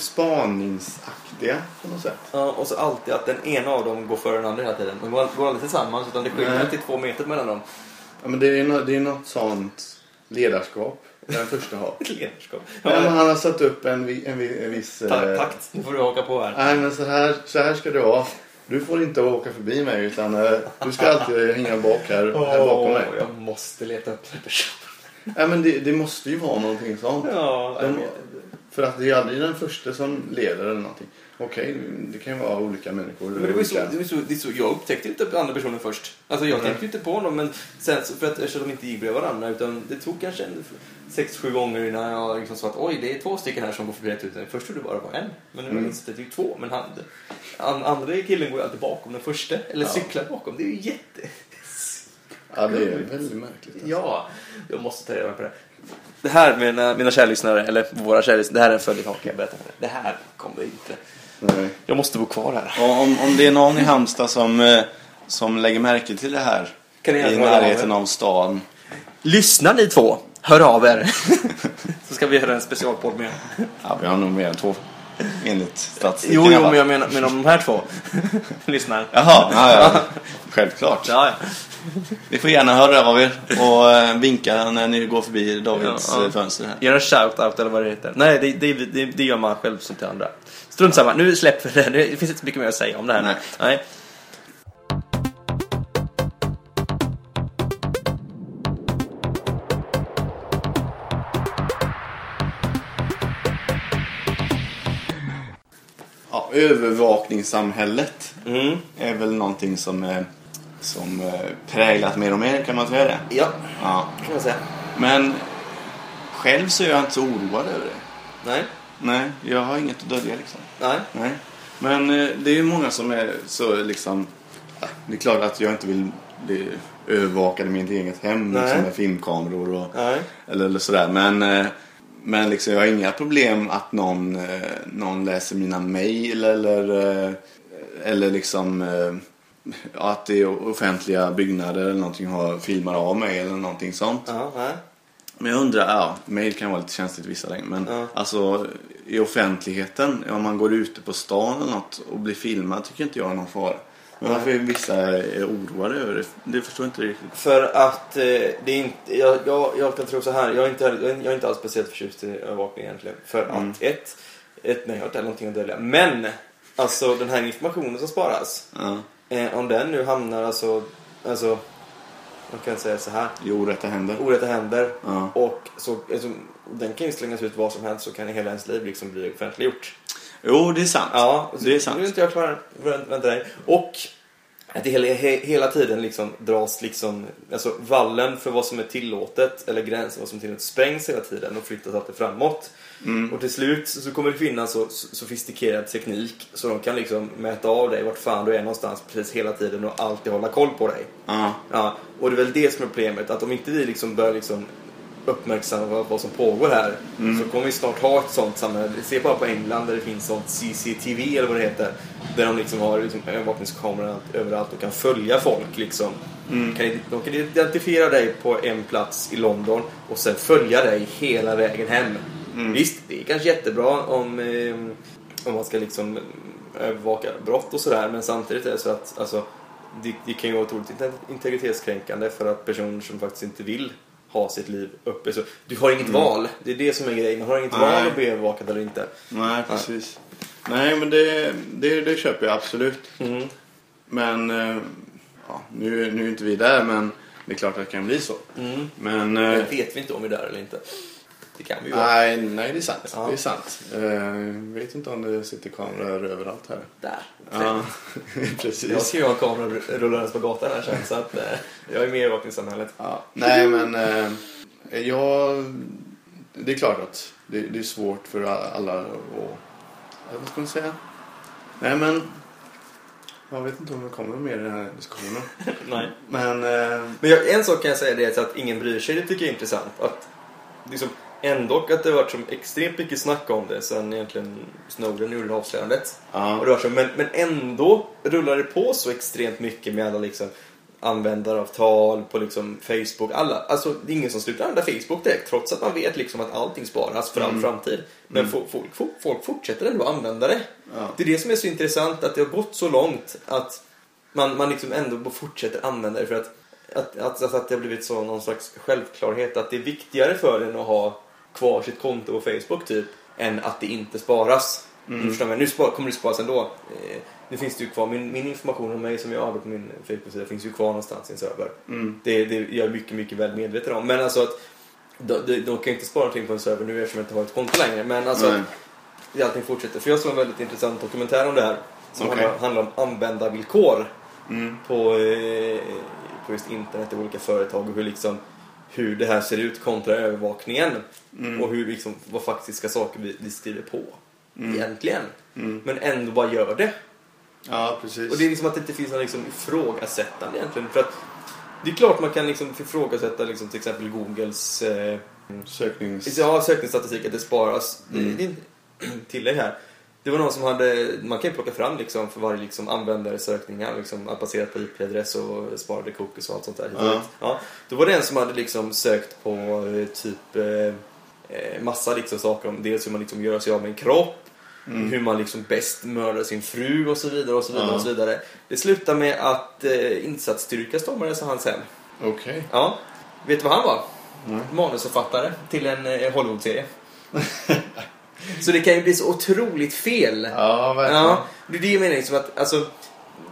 Speaker 4: spaningsaktiga på något sätt.
Speaker 1: Ja, och så alltid att den ena av dem går före den andra hela tiden. De går, går aldrig tillsammans utan det skiljer
Speaker 4: Nej.
Speaker 1: till två meter mellan dem.
Speaker 4: Ja, men det är, nå- det är något sånt ledarskap den första har.
Speaker 1: Ett ledarskap.
Speaker 4: Nej, men
Speaker 1: Ja,
Speaker 4: han har satt upp en, vi- en, vi- en viss...
Speaker 1: ta-
Speaker 4: eh,
Speaker 1: takt, nu får du haka på här.
Speaker 4: Nej, men så här, så här ska du ha. Du får inte åka förbi mig utan eh, du ska alltid hänga bak här, här bakom mig.
Speaker 1: Åh, jag måste leta upp den personen.
Speaker 4: Nej, men det, det måste ju vara någonting sånt.
Speaker 1: Ja, jag
Speaker 4: De,
Speaker 1: vet.
Speaker 4: för att det är aldrig den första som leder eller någonting. Okej, det kan ju vara olika människor.
Speaker 1: men det var ju så,
Speaker 4: olika-
Speaker 1: det var ju så, det är så, jag upptäckte ju inte andra personen först. Alltså jag
Speaker 4: Nej.
Speaker 1: tänkte ju inte på honom, men sen så, för att eftersom de inte gick bredvid varandra, utan det tog kanske en, sex, sju gånger innan jag liksom sa att oj, det är två stycken här som går förbi rätt ut. Först trodde jag bara det var en, men nu har jag
Speaker 4: Mm.
Speaker 1: insett att det är två. Men han, an, andra killen går ju alltid bakom den första, eller
Speaker 4: Ja.
Speaker 1: cyklar bakom. Det är ju jätte...
Speaker 4: Ja, det är väldigt märkligt. Alltså.
Speaker 1: Ja, jag måste ta reda på det. Det här, mina, mina kära lyssnare, eller våra kära lyssnare, det här är en följetong kan jag berätta för er. Det här kommer inte...
Speaker 4: Nej.
Speaker 1: Jag måste bo kvar här.
Speaker 2: Och om, om det är någon i Halmstad som, eh, som lägger märke till det här
Speaker 1: Kan ni
Speaker 2: i
Speaker 1: gärna höra av
Speaker 2: närheten av stan.
Speaker 1: Lyssnar ni två? Hör av er. Så ska vi göra en specialpodd med.
Speaker 2: Ja, vi har nog mer än två. Enligt statistiken
Speaker 1: Jo,
Speaker 2: i
Speaker 1: jo,
Speaker 2: alla
Speaker 1: men
Speaker 2: fall.
Speaker 1: jag menar, menar de här två. Lyssnar.
Speaker 2: Jaha, ja, ja. självklart.
Speaker 1: Ja,
Speaker 2: Ni får gärna höra av er och eh, vinka när ni går förbi Davids
Speaker 1: Ja, ja.
Speaker 2: eh, fönster här.
Speaker 1: Gör en shout-out eller vad det heter. Nej, det, det, det, det gör man själv som till andra. Strunt samma, nu släpper vi det. Det finns inte så mycket mer att säga om det här.
Speaker 2: Nej.
Speaker 1: Nej.
Speaker 2: Ja, övervakningssamhället
Speaker 1: Mm.
Speaker 2: är väl någonting som, eh, som eh, präglat mer och mer, kan man säga det?
Speaker 1: Ja,
Speaker 2: Ja.
Speaker 1: kan man säga.
Speaker 2: Men själv så är jag inte så oroad över det.
Speaker 1: Nej,
Speaker 2: Nej, jag har inget att dölja liksom.
Speaker 1: nej.
Speaker 2: Nej. Men eh, det är ju många som är så liksom... ja, Det är klart att jag inte vill bli övervakad i mitt eget hem
Speaker 1: Nej.
Speaker 2: liksom, med filmkameror och
Speaker 1: Nej.
Speaker 2: eller, eller sådär. Men, eh, men liksom, jag har inga problem att någon, eh, någon läser mina mejl eller, eh, eller liksom eh, ja, att det är offentliga byggnader eller någonting har, filmar av mig eller någonting sånt.
Speaker 1: Ja, nej.
Speaker 2: Men jag undrar, ja, mail kan vara lite känsligt i vissa lägen. Men
Speaker 1: Ja.
Speaker 2: alltså i offentligheten, om man går ute på stan eller något och blir filmad tycker inte jag är någon fara. Men varför är vissa är oroade över det? Det förstår jag inte riktigt.
Speaker 1: För att eh, det är inte, jag, jag, jag kan tro så här, jag är, inte, jag är- jag är inte alls speciellt förtjust i övervakning egentligen. För
Speaker 2: Mm.
Speaker 1: att ett, ett, nej jag har inte någonting att dölja. Men, alltså den här informationen som sparas,
Speaker 2: Ja.
Speaker 1: eh, om den nu hamnar alltså, alltså, man kan säga så här,
Speaker 2: Jo, detta händer.
Speaker 1: orätta händer
Speaker 2: Ja.
Speaker 1: och så, alltså, den kan ju slängas ut vad som helst så kan hela ens liv liksom bli offentliggjort.
Speaker 2: Jo, det är sant.
Speaker 1: Ja,
Speaker 2: det är
Speaker 1: Nu är
Speaker 2: sant.
Speaker 1: inte jag klar, vänt- vänta dig. Och att det hela, he, hela tiden liksom dras liksom, alltså vallen för vad som är tillåtet eller gränsen för vad som är tillåtet sprängs hela tiden och flyttas alltid framåt.
Speaker 2: Mm.
Speaker 1: Och till slut så så kommer det finnas så så- sofistikerad teknik så de kan liksom mäta av dig vart fan du är någonstans precis hela tiden och alltid hålla koll på dig.
Speaker 2: Ja.
Speaker 1: Ja, och det är väl det som är problemet, att om inte vi liksom börjar liksom uppmärksamma vad- vad som pågår här så kommer vi snart ha ett sånt samhälle. Se bara på England där det finns sånt CCTV eller vad det heter. Där de liksom har liksom övervakningskameror överallt och kan följa folk. Liksom. Kan, ident- de kan identifiera dig på en plats i London och sen följa dig hela vägen hem. Visst, det är kanske jättebra om, eh, om man ska liksom övervaka brott och sådär men samtidigt är det så att alltså, det, det kan ju vara otroligt inte- integritetskränkande för att personer som faktiskt inte vill ha sitt liv uppe. Så du har inget val. Det är det som är grejen. Man har inget
Speaker 2: Mm. Nej.
Speaker 1: val att bli övervakad eller inte.
Speaker 2: Nej, precis. Nej, men det, det, det köper jag absolut. Men eh, ja, nu, nu är inte vi där, men det är klart att det kan bli så. Men... eh,
Speaker 1: Men vet vi inte om vi är där eller inte. Det kan vi ju vara.
Speaker 2: Nej, nej, det är sant.
Speaker 1: Ja.
Speaker 2: Det är sant. Eh, vet inte om det sitter kameror överallt här.
Speaker 1: Där.
Speaker 2: Ja,
Speaker 1: Jag
Speaker 2: precis.
Speaker 1: ska ju ha en kamera rullandes på gatan här sen så att eh, jag är med i övervakningssamhället.
Speaker 2: Ja. Nej, men eh, jag... Det är klart att det, det är svårt för alla att... ja, Vad ska man säga? Nej, men... Jag vet inte om det kommer mer i den här diskussionen.
Speaker 1: Nej.
Speaker 2: Men... Eh,
Speaker 1: Men jag, en sak kan jag säga det är att ingen bryr sig. Det tycker jag är intressant. Att, liksom, ändå att det har varit som extremt mycket snack om det sen egentligen Snowden gjorde avslöjandet. Och
Speaker 2: ja.
Speaker 1: rör sig. Men, men ändå rullar det på så extremt mycket med alla liksom användaravtal på liksom Facebook. Alla, alltså, det är ingen som slutar använda Facebook direkt trots att man vet liksom att allting sparas för all framtid. Men fo- folk, fo- folk fortsätter ändå använda det.
Speaker 2: Ja.
Speaker 1: Det är det som är så intressant att det har gått så långt att man, man liksom ändå fortsätter använda det för att, att, att, att, att det har blivit så någon slags självklarhet att det är viktigare för en att ha kvar sitt konto på Facebook typ än att det inte sparas. Mm. Förstår mig? Nu spar, kommer det sparas ändå. Eh, nu finns det ju kvar, min, min information om mig som jag har på min Facebook-sida finns ju kvar någonstans i en server.
Speaker 2: Mm.
Speaker 1: Det, det är jag är mycket, mycket väl medveten om. Men alltså att de, de, de kan ju inte spara någonting på en server nu eftersom jag inte har ett konto längre. Men alltså
Speaker 2: Nej.
Speaker 1: att det allting fortsätter. För jag såg en väldigt intressant dokumentär om det här. Som
Speaker 2: Okej.
Speaker 1: handlar, handlar om användarvillkor
Speaker 2: Mm.
Speaker 1: på, eh, på just internet och olika företag och hur, liksom, hur det här ser ut kontra övervakningen.
Speaker 2: mm,
Speaker 1: Och hur, liksom, vad faktiska saker vi, vi skriver på
Speaker 2: Mm.
Speaker 1: egentligen. Men ändå bara gör det.
Speaker 2: ja, precis.
Speaker 1: Och det är liksom att det inte finns någon liksom ifrågasättande egentligen. För att det är klart man kan liksom ifrågasätta liksom till exempel Googles eh,
Speaker 2: Söknings...
Speaker 1: Ja, sökningsstatistik att det sparas.
Speaker 2: Mm.
Speaker 1: Det, det är inte- tillägg här. Det var någon som hade, man kan ju plocka fram liksom för varje liksom användare sökningar liksom att baserat på IP-adress och sparade cookies och allt sånt där.
Speaker 2: Ja.
Speaker 1: Ja, då var det en som hade liksom sökt på eh, typ eh, eh, massa liksom saker om dels hur man liksom gör sig av med en kropp,
Speaker 2: mm.
Speaker 1: hur man liksom bäst mördar sin fru och så vidare och så vidare
Speaker 2: Ja.
Speaker 1: och så vidare. Det slutade med att eh, insatsstyrka stormades av hans hem.
Speaker 2: Okej.
Speaker 1: Ja. Vet du vad han var?
Speaker 2: Nej.
Speaker 1: Manusförfattare till en eh, Hollywood-serie. så det kan ju bli så otroligt fel.
Speaker 2: Ja, verkligen.
Speaker 1: Ja, det är det jag menar. Liksom att, alltså,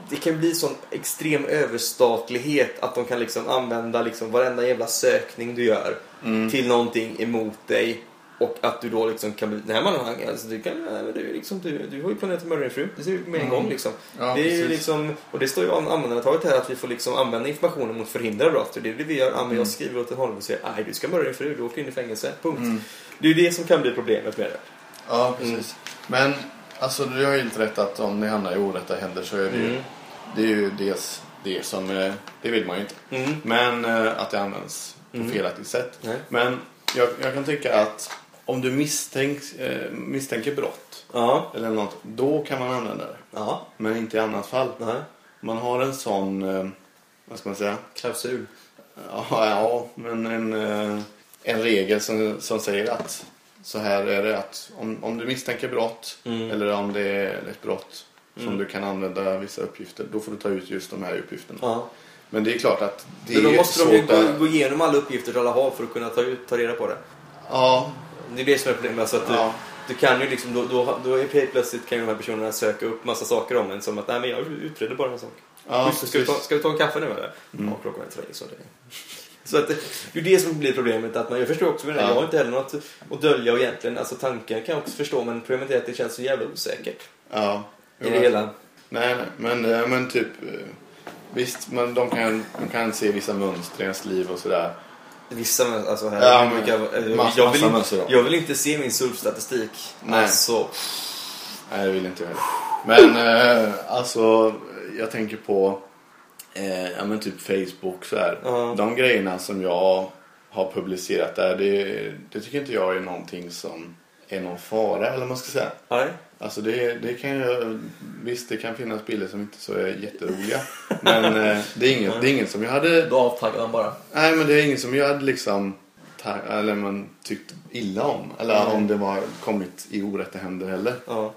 Speaker 1: det kan bli sån extrem överstatlighet att de kan liksom använda liksom varenda jävla sökning du gör
Speaker 2: Mm.
Speaker 1: till någonting emot dig. Och att du då liksom kan bli... Den här mannen, han- alltså, du, kan, nej, men du, är liksom, du, du har ju planerat att mörda din fru. Det ser du med en
Speaker 2: Mm.
Speaker 1: gång liksom.
Speaker 2: Ja,
Speaker 1: det är ju
Speaker 2: precis.
Speaker 1: liksom. Och det står ju om användartaget här att vi får liksom använda informationen mot förhindra brott. Och det är det vi gör. Ja, men
Speaker 2: Mm.
Speaker 1: Jag skriver åt en honom och säger nej du ska mörda din fru, du åker in i fängelse. Punkt.
Speaker 2: Mm.
Speaker 1: Det är ju det som kan bli problemet med det.
Speaker 2: Ja,
Speaker 1: precis.
Speaker 2: Men alltså, du har ju helt rätt att om det hamnar i orätta händer så är det ju,
Speaker 1: Mm.
Speaker 2: det är ju dels det som... eh, Det vill man ju inte.
Speaker 1: Mm.
Speaker 2: Men eh, att det används på felaktigt sätt.
Speaker 1: Nej.
Speaker 2: Men jag, jag kan tycka att om du misstänks, eh, misstänker brott
Speaker 1: Ja.
Speaker 2: eller något, då kan man använda det.
Speaker 1: Ja.
Speaker 2: Men inte i annat fall.
Speaker 1: Nej.
Speaker 2: Man har en sån... Eh, vad ska man säga?
Speaker 1: Klausul.
Speaker 2: Ja, ja men en... Eh, en regel som, som säger att så här är det att om, om du misstänker brott
Speaker 1: Mm.
Speaker 2: eller om det är ett brott som du kan använda vissa uppgifter, då får du ta ut just de här uppgifterna.
Speaker 1: Ja.
Speaker 2: Men det är klart att det
Speaker 1: Men då
Speaker 2: är
Speaker 1: måste
Speaker 2: svårt
Speaker 1: de ju gå,
Speaker 2: att-
Speaker 1: gå igenom alla uppgifter alla har för att kunna ta, ut, ta reda på det.
Speaker 2: Ja,
Speaker 1: Det är det som är problemet. Alltså att du,
Speaker 2: Ja.
Speaker 1: du kan ju liksom, då, då, då är helt plötsligt kan ju de här personerna söka upp massa saker om en som att nej men jag utreder bara en sak.
Speaker 2: ja
Speaker 1: Just, ska, du
Speaker 2: precis. Mm.
Speaker 1: ta, ska du ta en kaffe nu eller? Ja, klockan är tre. Så det, så att, det det är ju det som blir problemet. Att man, jag förstår också, men
Speaker 2: Ja.
Speaker 1: jag har inte heller något att dölja och egentligen. Alltså tanken kan jag också förstå, men problemet är att det känns så jävla osäkert.
Speaker 2: Ja.
Speaker 1: I det hela.
Speaker 2: Nej, nej. Men, eh, men typ... eh, Visst, men de, kan, de kan se vissa mönster i ens liv och sådär.
Speaker 1: Vissa, alltså här,
Speaker 2: Ja,
Speaker 1: hur
Speaker 2: men-
Speaker 1: mycket, eh,
Speaker 2: mass-
Speaker 1: jag, vill,
Speaker 2: massa
Speaker 1: inte-
Speaker 2: mönster då.
Speaker 1: jag vill inte se min surfstatistik.
Speaker 2: Nej.
Speaker 1: Alltså,
Speaker 2: Nej, det vill inte jag heller. Men eh, alltså, jag tänker på eh, ja, men typ Facebook så här.
Speaker 1: Ja.
Speaker 2: De grejerna som jag har publicerat där, det, det tycker inte jag är någonting som är någon fara eller vad man ska säga.
Speaker 1: nej.
Speaker 2: Alltså det, det kan ju, visst det kan finnas bilder som inte så är jätteroliga. Men eh, det, är inget, det är inget som jag hade
Speaker 1: Då avtaggar man bara.
Speaker 2: Nej, men det är ingen som jag hade liksom ta- eller man tyckt illa om. Eller
Speaker 1: Nej.
Speaker 2: om det var kommit i orätta händer heller.
Speaker 1: Ja.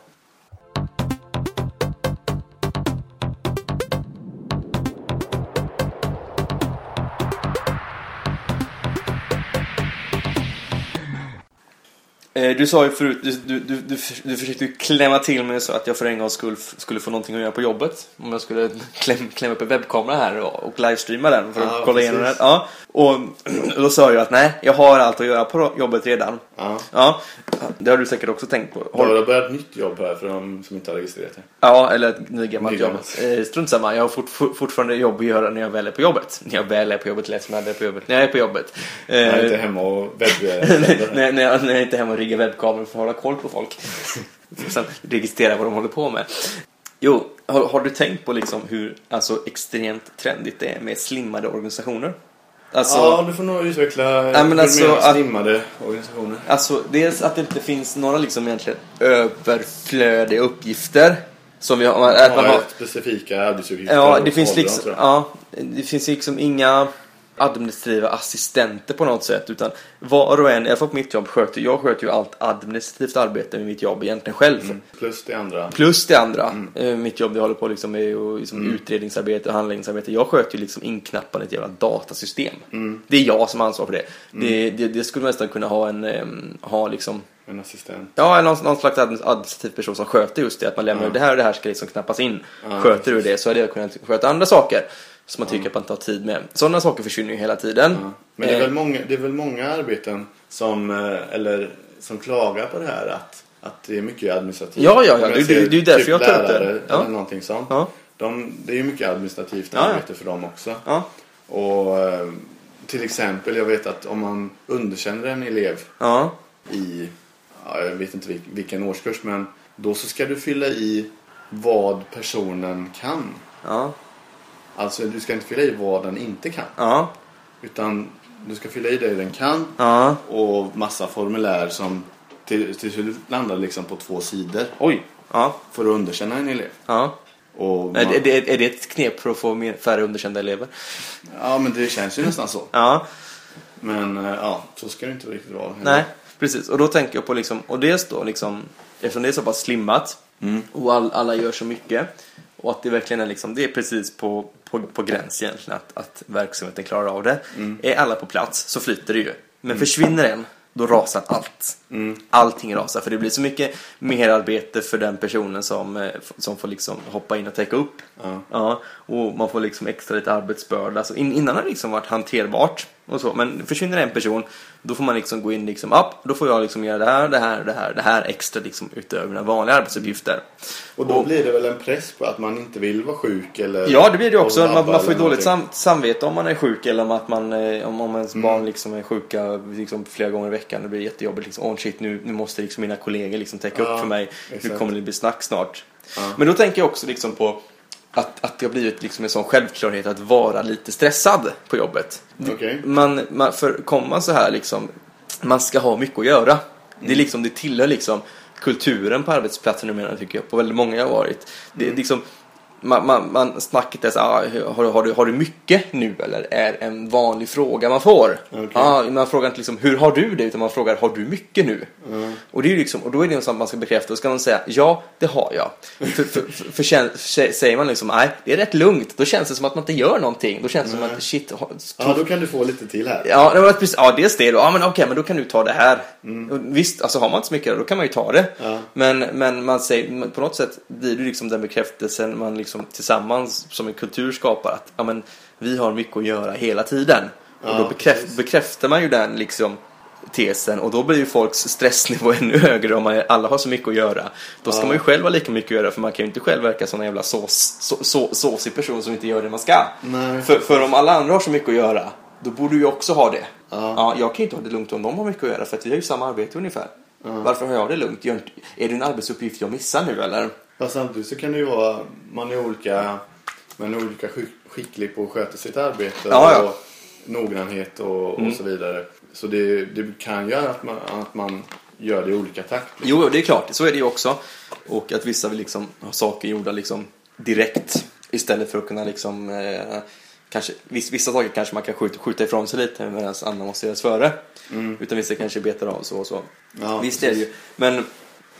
Speaker 1: Eh, Du sa ju förut, du, du, du, du, förs- du försökte ju klämma till mig så att jag för en gångs skull f- skulle få någonting att göra på jobbet. Om jag skulle kläm, klämma upp en webbkamera här och, och livestreama den för att
Speaker 2: Ja,
Speaker 1: kolla igenom den.
Speaker 2: precis.
Speaker 1: Ja. Och då sa jag att nej, jag har allt att göra på jobbet redan.
Speaker 2: Ja.
Speaker 1: Ja, det har du säkert också tänkt på.
Speaker 2: Har
Speaker 1: Har,
Speaker 2: du börjat nytt jobb här för de som inte har registrerat det?
Speaker 1: ja, eller ett nygammalt jobb.
Speaker 2: Nygammalt.
Speaker 1: Eh, Strunt samma, jag har fort, for- fortfarande jobb att göra när jag väl är på jobbet. När jag väl är på jobbet, läser när jag är på jobbet. När jag är på jobbet. Eh,
Speaker 2: Jag är inte hemma och webbsänder.
Speaker 1: när, när, jag, när jag inte är hemma och riggar webbkameror för att hålla koll på folk. För att Sen registrera vad de håller på med. Jo, har, har du tänkt på liksom hur alltså, extremt trendigt det är med slimmade organisationer? Alltså,
Speaker 2: ja, du får nog utveckla
Speaker 1: men
Speaker 2: hur du
Speaker 1: alltså
Speaker 2: menar
Speaker 1: att-
Speaker 2: slimmade organisationer.
Speaker 1: Alltså dels att det inte finns några liksom egentligen överflödiga uppgifter. Som vi har, att man
Speaker 2: har
Speaker 1: har,
Speaker 2: specifika arbetsuppgifter.
Speaker 1: ja,
Speaker 2: och
Speaker 1: det finns
Speaker 2: koder,
Speaker 1: liksom,
Speaker 2: tror jag.
Speaker 1: ja, det finns liksom inga administrativa assistenter på något sätt. Utan var och en, i alla fall på mitt jobb, sköter, jag sköter ju allt administrativt arbete med mitt jobb egentligen själv.
Speaker 2: Mm. Plus det andra.
Speaker 1: Plus det andra,
Speaker 2: Mm.
Speaker 1: eh, mitt jobb jag håller på liksom med och liksom utredningsarbete och handläggningsarbete. Jag sköter ju liksom inknappandet i ett jävla datasystem.
Speaker 2: Mm.
Speaker 1: Det är jag som har ansvar för det. Det, det. det skulle man nästan kunna ha en, ehm, ha liksom
Speaker 2: En assistent.
Speaker 1: Ja, eller någon, någon slags admin- administrativ person som sköter just det. Att man lämnar ut det här och det här ska liksom knappas in. sköter du det så hade jag kunnat sköta andra saker. Som man tycker att man inte har tid med. Sådana saker försvinner ju hela tiden.
Speaker 2: Men det är,
Speaker 1: Eh,
Speaker 2: väl många, det är väl många arbeten som, eh, eller, som klagar på det här att, att det är mycket administrativt.
Speaker 1: Ja, ja, ja.
Speaker 2: Om jag
Speaker 1: Det- det-
Speaker 2: ser typ
Speaker 1: det är ju därför jag tar upp det.
Speaker 2: lärare
Speaker 1: Ja.
Speaker 2: Eller någonting sånt.
Speaker 1: Ja.
Speaker 2: De, det är ju mycket administrativt
Speaker 1: Ja, ja.
Speaker 2: arbete för dem också.
Speaker 1: Ja.
Speaker 2: Och eh, till exempel, jag vet att om man underkänner en elev
Speaker 1: Ja.
Speaker 2: i, ja, jag vet inte vil- vilken årskurs, men då så ska du fylla i vad personen kan.
Speaker 1: Ja.
Speaker 2: Alltså du ska inte fylla i vad den inte kan.
Speaker 1: Ja.
Speaker 2: Utan du ska fylla i det den kan
Speaker 1: Ja.
Speaker 2: och massa formulär som till, till slut landar liksom på två sidor
Speaker 1: Oj. Ja.
Speaker 2: för att underkänna en elev.
Speaker 1: Ja.
Speaker 2: Och
Speaker 1: Är,
Speaker 2: man-
Speaker 1: är, det, är det ett knep för att få mer, färre underkända elever?
Speaker 2: Ja, men det känns ju nästan så.
Speaker 1: Ja.
Speaker 2: Men eh, ja, så ska det inte riktigt vara. heller.
Speaker 1: Nej, precis. Och då tänker jag på liksom, och dels då liksom, eftersom det är så pass slimmat och all, alla gör så mycket och att det verkligen är liksom, det är precis på, på, på gräns egentligen att, att verksamheten klarar av det. Är alla på plats så flyter det ju. Men försvinner en, då rasar allt. Allting rasar, för det blir så mycket mer arbete för den personen som, eh, f- som får liksom hoppa in och täcka upp.
Speaker 2: Ja.
Speaker 1: Ja, och man får liksom extra lite arbetsbörda. Så in, innan har det liksom varit hanterbart och så. Men försvinner en person, då får man liksom gå in liksom, upp, då får jag liksom göra det här, det här, det här, det här extra liksom utöver mina vanliga arbetsuppgifter.
Speaker 2: Och då blir det väl en press på att man inte vill vara sjuk eller...
Speaker 1: Ja, det blir det ju också.
Speaker 2: och
Speaker 1: Man,
Speaker 2: labba
Speaker 1: man får ju
Speaker 2: eller
Speaker 1: dåligt
Speaker 2: någonting. Mm.
Speaker 1: sam, samvete om man är sjuk eller om, att man, eh, om, om ens barn liksom är sjuka liksom, flera gånger i veckan. Det blir jättejobbigt. Liksom, oh shit, nu, nu måste liksom mina kollegor liksom täcka
Speaker 2: Ja,
Speaker 1: upp för mig. Nu
Speaker 2: exakt.
Speaker 1: kommer det bli snack snart. Men då tänker jag också liksom på att, att det har blivit liksom en sån självklarhet att vara lite stressad på jobbet.
Speaker 2: Okej.
Speaker 4: Mm.
Speaker 1: Man, man, för kommer man så här liksom, man ska ha mycket att göra.
Speaker 4: Mm.
Speaker 1: Det, är liksom, det
Speaker 4: Mm.
Speaker 1: tillhör liksom kulturen på arbetsplatsen numera tycker jag, på väldigt många jag har varit. Det, är liksom, man, man, man snacket är så ah, har, du- har, du, har du mycket nu eller? Är en vanlig fråga man får.
Speaker 4: Okej.
Speaker 1: Ah, man frågar inte liksom hur har du det utan man frågar har du mycket nu?
Speaker 4: Mm.
Speaker 1: Och, det är ju liksom, och då är det ju sånt man ska bekräfta. Då ska man säga ja, det har jag. För, för, för, för, kän- sä- säger man liksom nej, det är rätt lugnt. Då känns det som att man inte gör någonting. Då känns det som att shit, har-
Speaker 4: Ja, då kan du få lite till här.
Speaker 1: Ja, det var precis, ja dels det då. Ja, men okej, men då kan du ta det här. Och Visst, alltså har man inte så mycket då kan man ju ta det.
Speaker 4: Mm. Ja.
Speaker 1: Men, men man säger, på något sätt blir det liksom den bekräftelsen man liksom tillsammans som en kultur skapar. Att ja, men, vi har mycket att göra hela tiden. och
Speaker 4: Ja,
Speaker 1: då bekräf-
Speaker 4: precis.
Speaker 1: bekräftar man ju den liksom tesen och då blir ju folks stressnivå ännu högre om man, alla har så mycket att göra. Då ska
Speaker 4: Ja.
Speaker 1: man ju själv ha lika mycket att göra för man kan ju inte själv verka som en jävla sås, så, så, såsig person som inte gör det man ska.
Speaker 4: Nej.
Speaker 1: För, för om alla andra har så mycket att göra, då borde ju också ha det.
Speaker 4: Ja.
Speaker 1: jag kan ju inte ha det lugnt om de har mycket att göra, för att vi har ju samma arbete ungefär.
Speaker 4: Ja.
Speaker 1: Varför har jag det lugnt? Gör inte, är det en arbetsuppgift jag missar nu eller?
Speaker 4: Fast samtidigt så kan det ju vara, man är olika, man är olika skick, skicklig på att sköta sitt arbete
Speaker 1: Ja, Mm. ja.
Speaker 4: och noggrannhet och, och så vidare. Så det, det kan göra att man, att man gör det i olika takt. liksom.
Speaker 1: Jo, det är klart, så är det ju också. Och att vissa vill liksom ha saker gjorda liksom direkt istället för att kunna liksom eh, Kanske, viss- vissa saker kanske man kan skjuta, skjuta ifrån sig lite medan andra måste göras före. Utan vissa kanske betar av så och så.
Speaker 4: Ja,
Speaker 1: Visst är det ju. Men,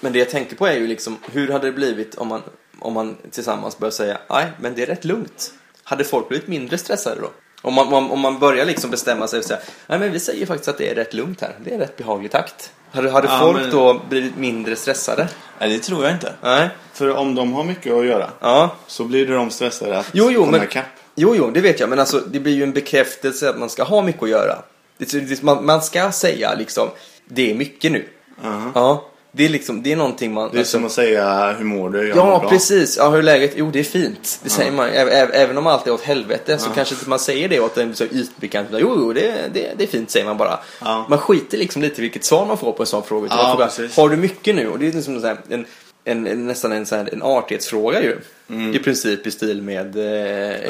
Speaker 1: men det jag tänker på är ju liksom, hur hade det blivit om man, om man tillsammans började säga nej, men det är rätt lugnt. Hade folk blivit mindre stressade då? Om man, om, om man börjar liksom bestämma sig och säga nej, men vi säger faktiskt att det är rätt lugnt här. Det är en rätt behaglig takt. Hade, hade
Speaker 2: Ja,
Speaker 1: folk
Speaker 2: men-
Speaker 1: då blivit mindre stressade?
Speaker 2: Nej, det tror jag inte.
Speaker 1: Nej.
Speaker 2: För om de har mycket att göra
Speaker 1: Ja.
Speaker 2: så blir de stressade att
Speaker 1: Jo, jo,
Speaker 2: komma
Speaker 1: men,
Speaker 2: ikapp.
Speaker 1: jo, jo, det vet jag. Men alltså, det blir ju en bekräftelse att man ska ha mycket att göra. Det, det, man, man ska säga liksom, det är mycket nu.
Speaker 2: Aha.
Speaker 1: Ja. Det är liksom, det är någonting man...
Speaker 2: Det är
Speaker 1: alltså-
Speaker 2: som att säga hur mår du? Jag mår
Speaker 1: Ja,
Speaker 2: bra.
Speaker 1: precis. Ja, hur är läget? Jo, det är fint. Det säger man. Ä- ä- Även om allt är åt helvete så kanske inte man säger det åt en så ytbekant. Jo, jo, det, det, det är fint, säger man bara.
Speaker 2: Ja.
Speaker 1: Man skiter liksom lite i vilket svar man får på en sån fråga. utan
Speaker 2: Ja,
Speaker 1: man frågar,
Speaker 2: precis.
Speaker 1: har du mycket nu? Och det är liksom så här, en, en, en, nästan en, så här, en artighetsfråga ju.
Speaker 2: Mm.
Speaker 1: I princip i stil med... Eh,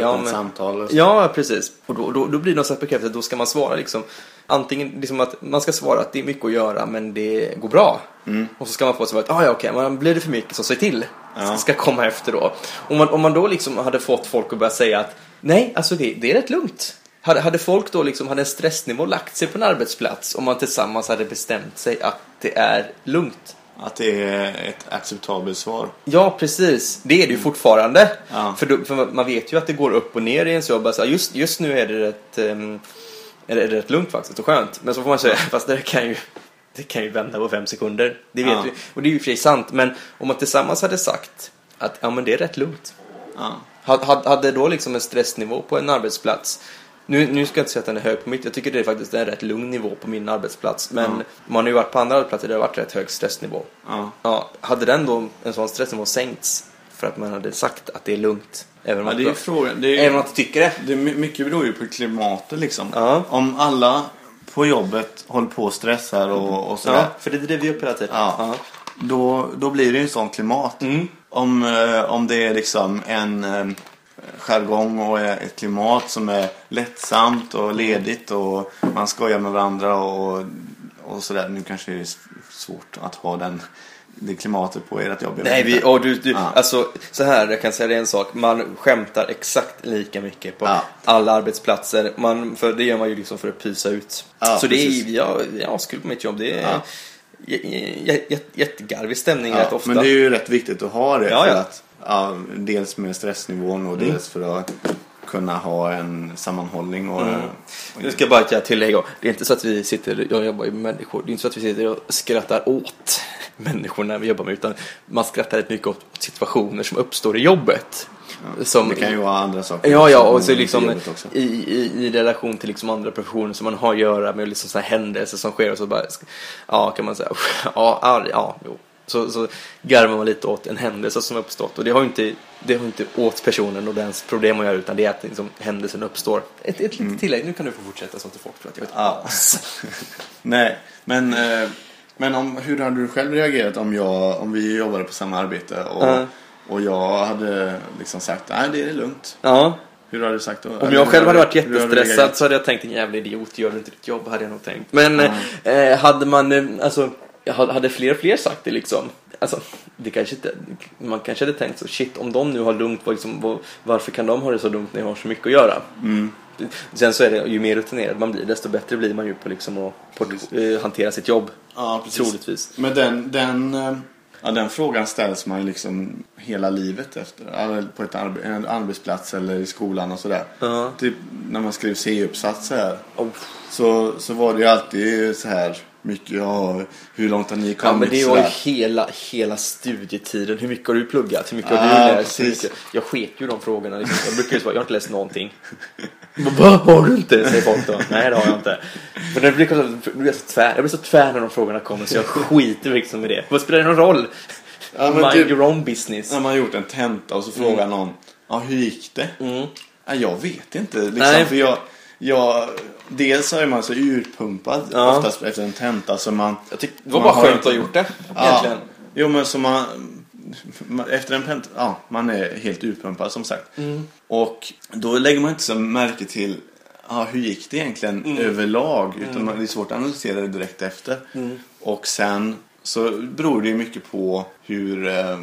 Speaker 1: ja,
Speaker 4: Öppet
Speaker 1: men,
Speaker 4: samtal. och så.
Speaker 1: Ja, precis. Och då, då, då blir det något slags bekräftelse. Då ska man svara liksom antingen liksom att man ska svara att det är mycket att göra men det går bra. Och så ska man få svaret att ah, ja, okej, men blir det för mycket så säg till.
Speaker 2: Ja.
Speaker 1: Ska komma efter då. Om man, om man då liksom hade fått folk att börja säga att nej, alltså det, det är rätt lugnt. Hade, hade folk då liksom, hade en stressnivå lagt sig på en arbetsplats om man tillsammans hade bestämt sig att det är lugnt.
Speaker 2: Att det är ett acceptabelt svar.
Speaker 1: Ja, precis. Det är det ju fortfarande.
Speaker 2: Mm. Ja.
Speaker 1: För, då, för man vet ju att det går upp och ner i ens jobb. Alltså, just, just nu är det rätt, ehm, är det, är det rätt lugnt faktiskt och skönt. Men så får man säga, fast det kan ju, det kan ju vända på fem sekunder. Det vet
Speaker 2: Ja.
Speaker 1: vi. Och det är ju i och för sig sant. Men om man tillsammans hade sagt att ja, men det är rätt lugnt.
Speaker 2: Ja.
Speaker 1: Hade, hade, hade då liksom en stressnivå på en arbetsplats. Nu, nu ska jag inte säga att den är hög på mitt. Jag tycker det är faktiskt en rätt lugn nivå på min arbetsplats. Men man har ju varit på andra arbetsplatser där det har varit rätt hög stressnivå.
Speaker 2: Ja.
Speaker 1: Ja, hade den då, en sån stressnivå sänkts för att man hade sagt att det är lugnt? Även om,
Speaker 2: Ja,
Speaker 1: att,
Speaker 2: det är ju frågan. Det är
Speaker 1: även om
Speaker 2: ju,
Speaker 1: att du tycker det?
Speaker 2: det är my- mycket beror ju på klimatet liksom.
Speaker 1: Ja.
Speaker 2: Om alla på jobbet håller på och stressar och, och sådär.
Speaker 1: Ja, för det driver ju upp hela tiden.
Speaker 2: Mm. Ja. Mm.
Speaker 1: Ja.
Speaker 2: Då, då blir det ju en sån klimat. Om, eh, om det är liksom en eh, jargong och eh, ett klimat som är lättsamt och ledigt och man skojar med varandra och, och sådär. Nu kanske det är s- svårt att ha den, det klimatet på ert jobb. jag
Speaker 1: Nej,
Speaker 2: vet
Speaker 1: vi,
Speaker 2: inte.
Speaker 1: och du, du,
Speaker 2: Ja.
Speaker 1: alltså så här, jag kan säga det en sak. Man skämtar exakt lika mycket på
Speaker 2: Ja.
Speaker 1: alla arbetsplatser. Man, för det gör man ju liksom för att pysa ut.
Speaker 2: Ja,
Speaker 1: så det är
Speaker 2: precis.
Speaker 1: ju, jag, jag har skuld på mitt jobb. Det är
Speaker 2: Ja.
Speaker 1: j- j- j- jättegarvig stämning rätt
Speaker 2: Ja,
Speaker 1: ofta.
Speaker 2: men det är ju rätt viktigt att ha det.
Speaker 1: Ja,
Speaker 2: för
Speaker 1: ja.
Speaker 2: Att, ja, dels med stressnivån och dels för att kunna ha en sammanhållning. Och, och,
Speaker 1: Nu Mm. ska jag bara göra ett tillägg. då. Det är inte så att vi sitter, jag jobbar ju med människor, det är inte så att vi sitter och skrattar åt människorna vi jobbar med utan man skrattar rätt mycket åt situationer som uppstår i jobbet. Som,
Speaker 2: det kan ju vara andra saker.
Speaker 1: Ja, ja,
Speaker 2: också,
Speaker 1: och så
Speaker 2: men i
Speaker 1: liksom
Speaker 2: jobbet också.
Speaker 1: i, i, i relation till liksom andra professioner som man har att göra med och liksom så här händelser som sker och så bara, sk- ja, kan man säga, ja, arg, ja, jo. Så, så garvar man lite åt en händelse som uppstått och det har ju inte, det har ju inte åt personen och dens problem att göra utan det är att liksom, händelsen uppstår. Ett, ett litet tillägg, nu kan du få fortsätta så att folk tror att jag är ett
Speaker 2: Ja. Nej, men, eh, men om, hur hade du själv reagerat om, jag, om vi jobbade på samma arbete och,
Speaker 1: Ja.
Speaker 2: och jag hade liksom sagt nej det är lugnt.
Speaker 1: Ja,
Speaker 2: Hur hade du sagt då? Eller
Speaker 1: om
Speaker 2: hur
Speaker 1: jag själv hade varit
Speaker 2: hur du
Speaker 1: jättestressad
Speaker 2: reagerat?
Speaker 1: så hade jag tänkt en jävla idiot, gör du inte ditt jobb hade jag nog tänkt. Men eh, eh, hade man, eh, alltså, jag hade- hade fler och fler sagt det liksom. alltså, det kanske inte, man kanske hade tänkt så, shit om de nu har lugnt, vad liksom, vad, varför kan de ha det så lugnt när jag har så mycket att göra?
Speaker 2: Mm.
Speaker 1: Sen så är det, ju mer rutinerad man blir, desto bättre blir man ju på, liksom, att på, att, eh, hantera sitt jobb.
Speaker 2: Ja, precis.
Speaker 1: Troligtvis.
Speaker 2: Men den, den, eh, ja, den frågan ställs man ju liksom hela livet efter. Eller På ett arbe- en arbetsplats eller i skolan och sådär.
Speaker 1: Ja.
Speaker 2: Typ när man skrev C-uppsatser
Speaker 1: Och,
Speaker 2: så, så var det ju alltid så här mycket, ja, hur långt har ni
Speaker 1: ja, men
Speaker 2: kommit?
Speaker 1: det var ju
Speaker 2: sådär.
Speaker 1: hela, hela studietiden. Hur mycket har du pluggat? Hur mycket har
Speaker 2: Ah,
Speaker 1: du läst? Hur
Speaker 2: precis.
Speaker 1: mycket? Jag sket ju de frågorna. Liksom. Jag brukar ju svara, jag har inte läst någonting. Vad har du inte? Säger folk då. Nej, det har jag inte. Men det blir så, jag, blir så tvär, jag blir så tvär när de frågorna kommer så jag skiter liksom i det. Vad spelar det någon roll?
Speaker 2: Ja, men
Speaker 1: Mind
Speaker 2: typ-
Speaker 1: your own business.
Speaker 2: När man har gjort en tenta och så
Speaker 1: Mm.
Speaker 2: frågar någon ja, hur gick det? Ja, jag vet inte. Liksom,
Speaker 1: Nej.
Speaker 2: För jag, jag, dels så är man så urpumpad
Speaker 1: Ja.
Speaker 2: oftast efter en tenta så man...
Speaker 1: Jag tyck, det var
Speaker 2: man
Speaker 1: bara
Speaker 2: har
Speaker 1: skönt att
Speaker 2: inte-
Speaker 1: ha gjort det.
Speaker 2: Ja.
Speaker 1: Egentligen.
Speaker 2: Jo men så man, man- efter en pent, ja man är helt utpumpad som sagt.
Speaker 1: Mm.
Speaker 2: Och då lägger man inte så märke till ja, hur gick det egentligen
Speaker 1: Mm.
Speaker 2: överlag. Utan man, det är svårt att analysera det direkt efter.
Speaker 1: Mm.
Speaker 2: Och sen så beror det ju mycket på hur eh,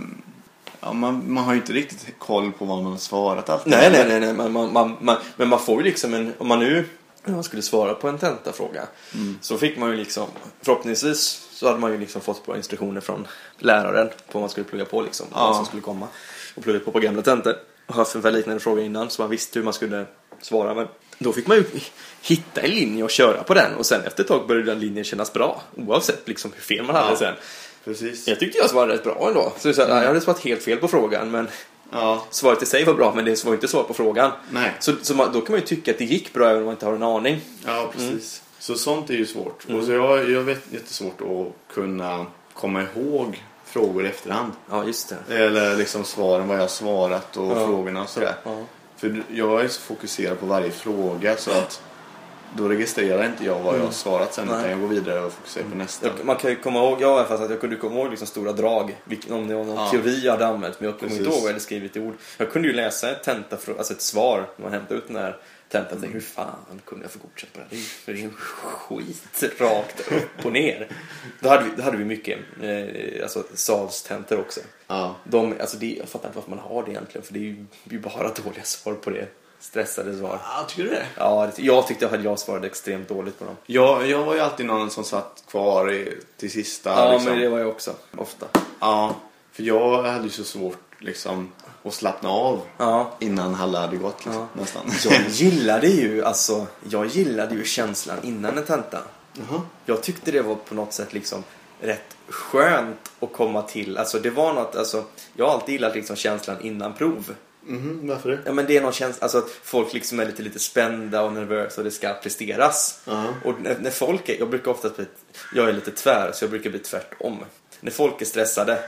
Speaker 2: Ja, man, man har ju inte riktigt koll på vad man har svarat alltid.
Speaker 1: Nej, nej, nej, nej. Man, man, man, man, men man får ju liksom en, om man nu när man skulle svara på en tentafråga
Speaker 2: Mm.
Speaker 1: så fick man ju liksom, förhoppningsvis så hade man ju liksom fått bra instruktioner från läraren på vad man skulle plugga på liksom,
Speaker 2: Ja.
Speaker 1: vad som skulle komma och plugga på på gamla tentor. Jag har haft ungefär liknande frågor innan så man visste hur man skulle svara men då fick man ju hitta en linje och köra på den och sen efter ett tag började den linjen kännas bra oavsett liksom hur fel man hade
Speaker 2: Ja. Mm.
Speaker 1: sen.
Speaker 2: Precis.
Speaker 1: Jag tyckte jag svarade rätt bra ändå. Så det är så här, Jag hade svarat helt fel på frågan men
Speaker 2: Ja.
Speaker 1: svaret i sig var bra men det var inte svar på frågan.
Speaker 2: Nej.
Speaker 1: Så, så man, då kan man ju tycka att det gick bra även om man inte har en aning.
Speaker 4: Ja, precis. Så sånt är ju svårt. Och
Speaker 1: Mm.
Speaker 4: så jag, jag vet jättesvårt att kunna komma ihåg frågor i efterhand.
Speaker 1: Ja, just det.
Speaker 4: Eller liksom svaren, vad jag har svarat och
Speaker 1: Ja.
Speaker 4: frågorna och sådär.
Speaker 1: Ja.
Speaker 4: För jag är så fokuserad på varje fråga så att då registrerar inte jag vad jag har svarat sen
Speaker 1: Mm. Nej.
Speaker 4: utan jag går vidare och fokuserar på nästa.
Speaker 1: Jag, man kan ju komma ihåg, jag har fast att jag kunde komma ihåg liksom stora drag, vilken, om det var någon
Speaker 2: Ja.
Speaker 1: teori jag hade använt, men jag kommer inte
Speaker 4: Precis.
Speaker 1: ihåg vad jag hade skrivit i ord. Jag kunde ju läsa ett, tenta, alltså ett svar när man hämtade ut den här tentan och tänkte, hur fan kunde jag få godkänt på det här? Det är ju- Det är ju skit rakt upp och ner. Då hade vi, då hade vi mycket eh, alltså, SAVS-tentor också.
Speaker 4: Ja.
Speaker 1: De, alltså det, jag fattar inte varför man har det egentligen, för det är ju, det är ju bara dåliga svar på det. Stressade svar.
Speaker 2: Ja, tycker du det?
Speaker 1: Ja, det- jag tyckte att jag svarade extremt dåligt på dem.
Speaker 4: Jag, jag var ju alltid någon som satt kvar i, till sista.
Speaker 1: Ja,
Speaker 4: liksom.
Speaker 1: men det var jag också. Ofta.
Speaker 4: ja, för jag hade ju så svårt liksom, att slappna av
Speaker 1: Ja.
Speaker 4: innan alla hade gått liksom,
Speaker 1: Ja.
Speaker 4: nästan.
Speaker 1: Jag gillade ju, alltså, jag gillade ju känslan innan en tenta.
Speaker 4: Jaha.
Speaker 1: Jag tyckte det var på något sätt liksom rätt skönt att komma till. Alltså det var något, alltså, jag har alltid gillat liksom känslan innan prov.
Speaker 4: Mhm, varför det?
Speaker 1: Ja men det är någon känsla, alltså att folk liksom är lite, lite spända och nervösa och det ska presteras.
Speaker 4: Ja.
Speaker 1: Och när, när folk är, jag brukar ofta bli, jag är lite tvär så jag brukar bli tvärtom. När folk är stressade,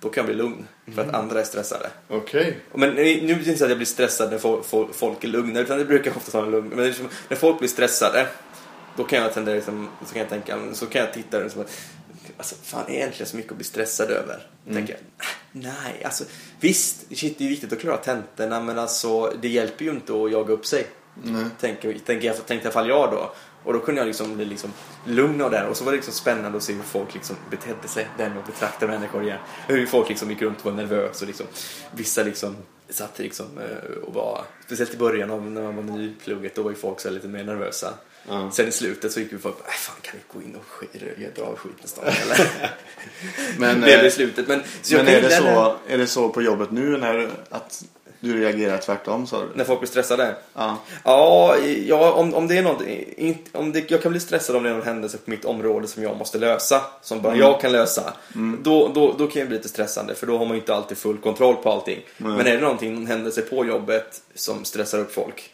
Speaker 1: då kan jag bli lugn för att andra är stressade.
Speaker 4: Okej.
Speaker 1: Men nu nu är det inte så att jag blir stressad när fo- fo- folk är lugna, utan det brukar jag ofta vara lugn. Men det är liksom, när folk blir stressade, då kan jag tendera liksom, så kan jag tänka, men så kan jag titta liksom, att, alltså fan är det egentligen så mycket att bli stressad över? Tänker jag. Nej, alltså visst, shit, det är viktigt att klara tentorna, men alltså det hjälper ju inte att jaga upp sig. Tänker, tänker jag, tänkte i alla fall jag då. Och då kunde jag liksom bli liksom lugn av det här. och så var det liksom spännande att se hur folk liksom betedde sig, den och betraktade människor igen. Hur folk liksom gick runt och var nervösa och liksom, vissa liksom satt liksom eh, och var, speciellt i början av när man var ny i plugget, då var ju folk så här lite mer nervösa.
Speaker 4: Ja.
Speaker 1: Sen i slutet så gick ju folk, "Äh, fan kan vi gå in och sk- dra av skiten snart eller?
Speaker 4: Men,
Speaker 1: det blev
Speaker 4: eh,
Speaker 1: slutet. Men, så jag
Speaker 2: Men är det,
Speaker 1: gillar
Speaker 2: så, är det så på jobbet nu när, att du reagerar tvärtom sa du?
Speaker 1: När folk blir stressade?
Speaker 2: Ja.
Speaker 1: Ja, ja om, om det är något, inte- om det, jag kan bli stressad om det är någon händelse på mitt område som jag måste lösa, som bara
Speaker 2: Mm.
Speaker 1: jag kan lösa. Då, då, då kan jag bli lite stressande för då har man ju inte alltid full kontroll på allting. Men är det någonting, någon händelse på jobbet som stressar upp folk,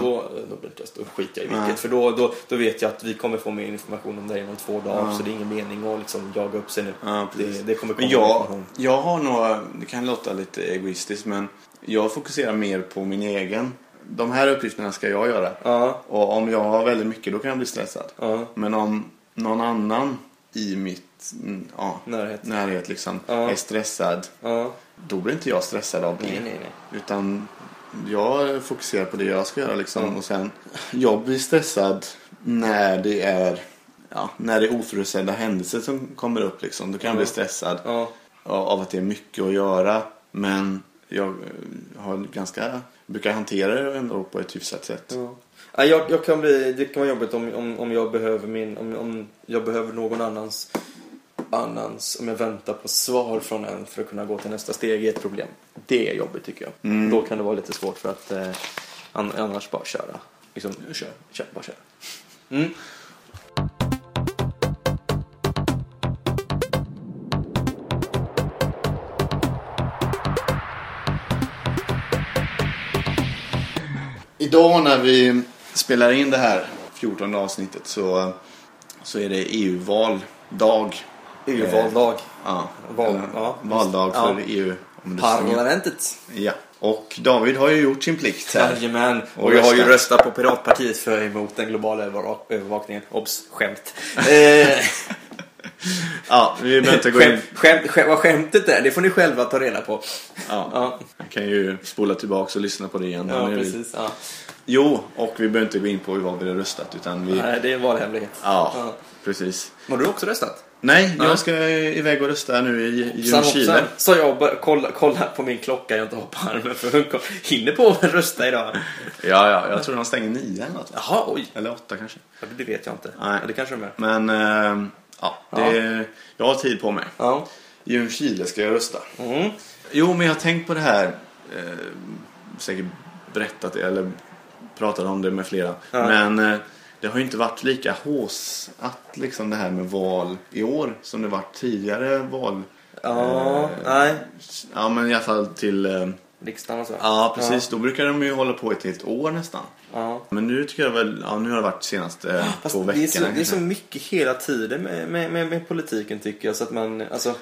Speaker 1: då, då, blir det, då skiter jag i vilket.
Speaker 2: Mm.
Speaker 1: För då, då, då vet jag att vi kommer få mer information om det inom två dagar så det är ingen mening att liksom jaga upp sig nu.
Speaker 2: Ja, precis.
Speaker 1: det, det kommer komma
Speaker 2: Men
Speaker 1: mer
Speaker 2: jag,
Speaker 1: information.
Speaker 2: jag har nog, det kan låta lite egoistiskt men jag fokuserar mer på min egen. De här uppgifterna ska jag göra.
Speaker 1: Ja,
Speaker 2: Och om jag har väldigt mycket då kan jag bli stressad.
Speaker 1: ja,
Speaker 2: Men om någon annan i mitt mm, ja,
Speaker 1: närhet.
Speaker 2: närhet liksom
Speaker 1: Ja.
Speaker 2: är stressad
Speaker 1: Ja.
Speaker 2: då blir inte jag stressad av det.
Speaker 1: Nej, nej, nej.
Speaker 2: Utan jag fokuserar på det jag ska göra liksom. Och sen, jag blir stressad när det är, ja, när det är oförutsedda händelser som kommer upp liksom. Då kan jag bli stressad.
Speaker 1: Ja.
Speaker 2: av att det är mycket att göra. Men jag eh, har ganska, brukar hantera det ändå på ett hyfsat sätt.
Speaker 1: Ja. Ja, jag, jag kan bli, det kan vara jobbigt om, om, om jag behöver min, om, om jag behöver någon annans, annans, om jag väntar på svar från en för att kunna gå till nästa steg är ett problem. Det är jobbigt tycker jag. Då kan det vara lite svårt för att eh, an- annars bara köra. Liksom, kör, kör, bara kör. Mm.
Speaker 2: Idag när vi spelar in det här 14 avsnittet så, så är det EU-valdag.
Speaker 1: EU-valdag.
Speaker 2: Ja,
Speaker 1: Val-
Speaker 2: eller
Speaker 1: ja, just-
Speaker 2: valdag
Speaker 1: ja.
Speaker 2: för EU. om det stämmer.
Speaker 1: Parlamentet.
Speaker 2: Ja. Och David har ju gjort sin plikt här.
Speaker 1: Jajamän.
Speaker 2: Och
Speaker 1: Och jag har ju
Speaker 2: röstat.
Speaker 1: röstat på Piratpartiet för emot den globala övervak- övervakningen. Obs! Skämt. Eh,
Speaker 2: Ja, vi behöver inte gå in.
Speaker 1: skämt, skämt, skämt, vad skämtet är, det får ni själva ta reda på.
Speaker 2: Ja.
Speaker 1: Ja,
Speaker 2: Jag kan ju spola tillbaka och lyssna på det igen.
Speaker 1: ja
Speaker 2: om ni vill.
Speaker 1: precis. Ja.
Speaker 2: Jo, och vi behöver inte gå in på hur vi har röstat utan vi...
Speaker 1: Nej, det är en valhemlighet.
Speaker 2: Ja,
Speaker 1: Ja.
Speaker 2: precis.
Speaker 1: Har du också röstat?
Speaker 2: Nej,
Speaker 1: Nej.
Speaker 2: jag ska iväg och rösta nu i i
Speaker 1: Hoppsan,
Speaker 2: Ljungskile.
Speaker 1: hoppsan. Så jag bara kollar kolla på min klocka jag inte har på armen för hon kom- hinner på att rösta idag.
Speaker 2: Ja, ja, jag tror de stänger nio eller något.
Speaker 1: Jaha, oj.
Speaker 2: Eller åtta kanske.
Speaker 1: Ja, Det vet jag inte.
Speaker 2: Nej.
Speaker 1: Ja, det kanske de är.
Speaker 2: Men eh, ja, det, jag har tid på mig.
Speaker 1: Ja.
Speaker 2: I Ljungskile ska jag rösta.
Speaker 1: Mm.
Speaker 2: Jo, men jag har tänkt på det här. Eh, säkert berättat det, eller pratat om det med flera.
Speaker 1: Ja.
Speaker 2: Men eh, det har ju inte varit lika håsat liksom det här med val i år som det varit tidigare val.
Speaker 1: Ja,
Speaker 2: Eh,
Speaker 1: nej.
Speaker 2: Ja, men i alla fall till... Eh,
Speaker 1: Riksdagen och så.
Speaker 2: ja, precis. Då brukar de ju hålla på ett helt år nästan.
Speaker 1: Ja.
Speaker 2: Men nu tycker jag väl... Ja, nu har det varit de senaste eh,
Speaker 1: Fast
Speaker 2: två
Speaker 1: det, är
Speaker 2: veckorna.
Speaker 1: så, det är
Speaker 2: kanske.
Speaker 1: så mycket hela tiden med, med, med, med politiken tycker jag. Så att man, alltså,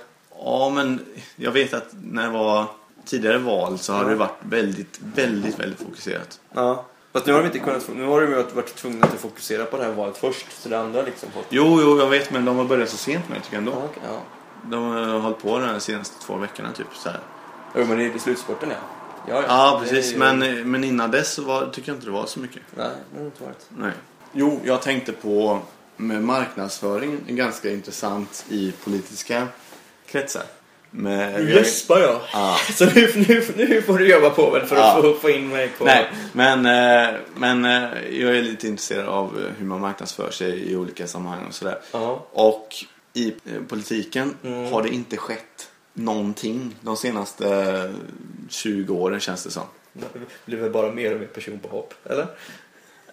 Speaker 2: Ja, men jag vet att när det var tidigare val så har det varit väldigt, väldigt, väldigt fokuserat.
Speaker 1: ja. Fast nu har de inte kunnat, nu har de ju varit- varit tvungna att fokusera på det här valet först. Så det andra liksom fått...
Speaker 2: Jo, jo, jag vet, men de har börjat så sent med det tycker jag
Speaker 1: Ja,
Speaker 2: ändå.
Speaker 1: okej, ja.
Speaker 2: De har hållit på de senaste två veckorna typ så här.
Speaker 1: Jo, men det är slutspurten ja. Ja,
Speaker 2: Ja,
Speaker 1: Det är
Speaker 2: precis.
Speaker 1: ju-
Speaker 2: Men, men innan dess så var, tycker jag inte det var så mycket.
Speaker 1: Nej, det har det inte varit.
Speaker 2: Nej. Jo, jag tänkte på med marknadsföring, är ganska intressant i politiska kretsar. Med, vi har ju-
Speaker 1: jag.
Speaker 2: Ja.
Speaker 1: Så nu, nu, nu får du jobba på väl för
Speaker 2: Ja.
Speaker 1: att få, få in mig på...
Speaker 2: Nej, men, eh, men eh, jag är lite intresserad av eh, hur man marknadsför sig i olika sammanhang och sådär.
Speaker 1: Ja.
Speaker 2: Och i eh, politiken har det inte skett någonting de senaste eh, 20 åren känns det som.
Speaker 1: Det blir väl bara mer och mer personpåhopp, eller?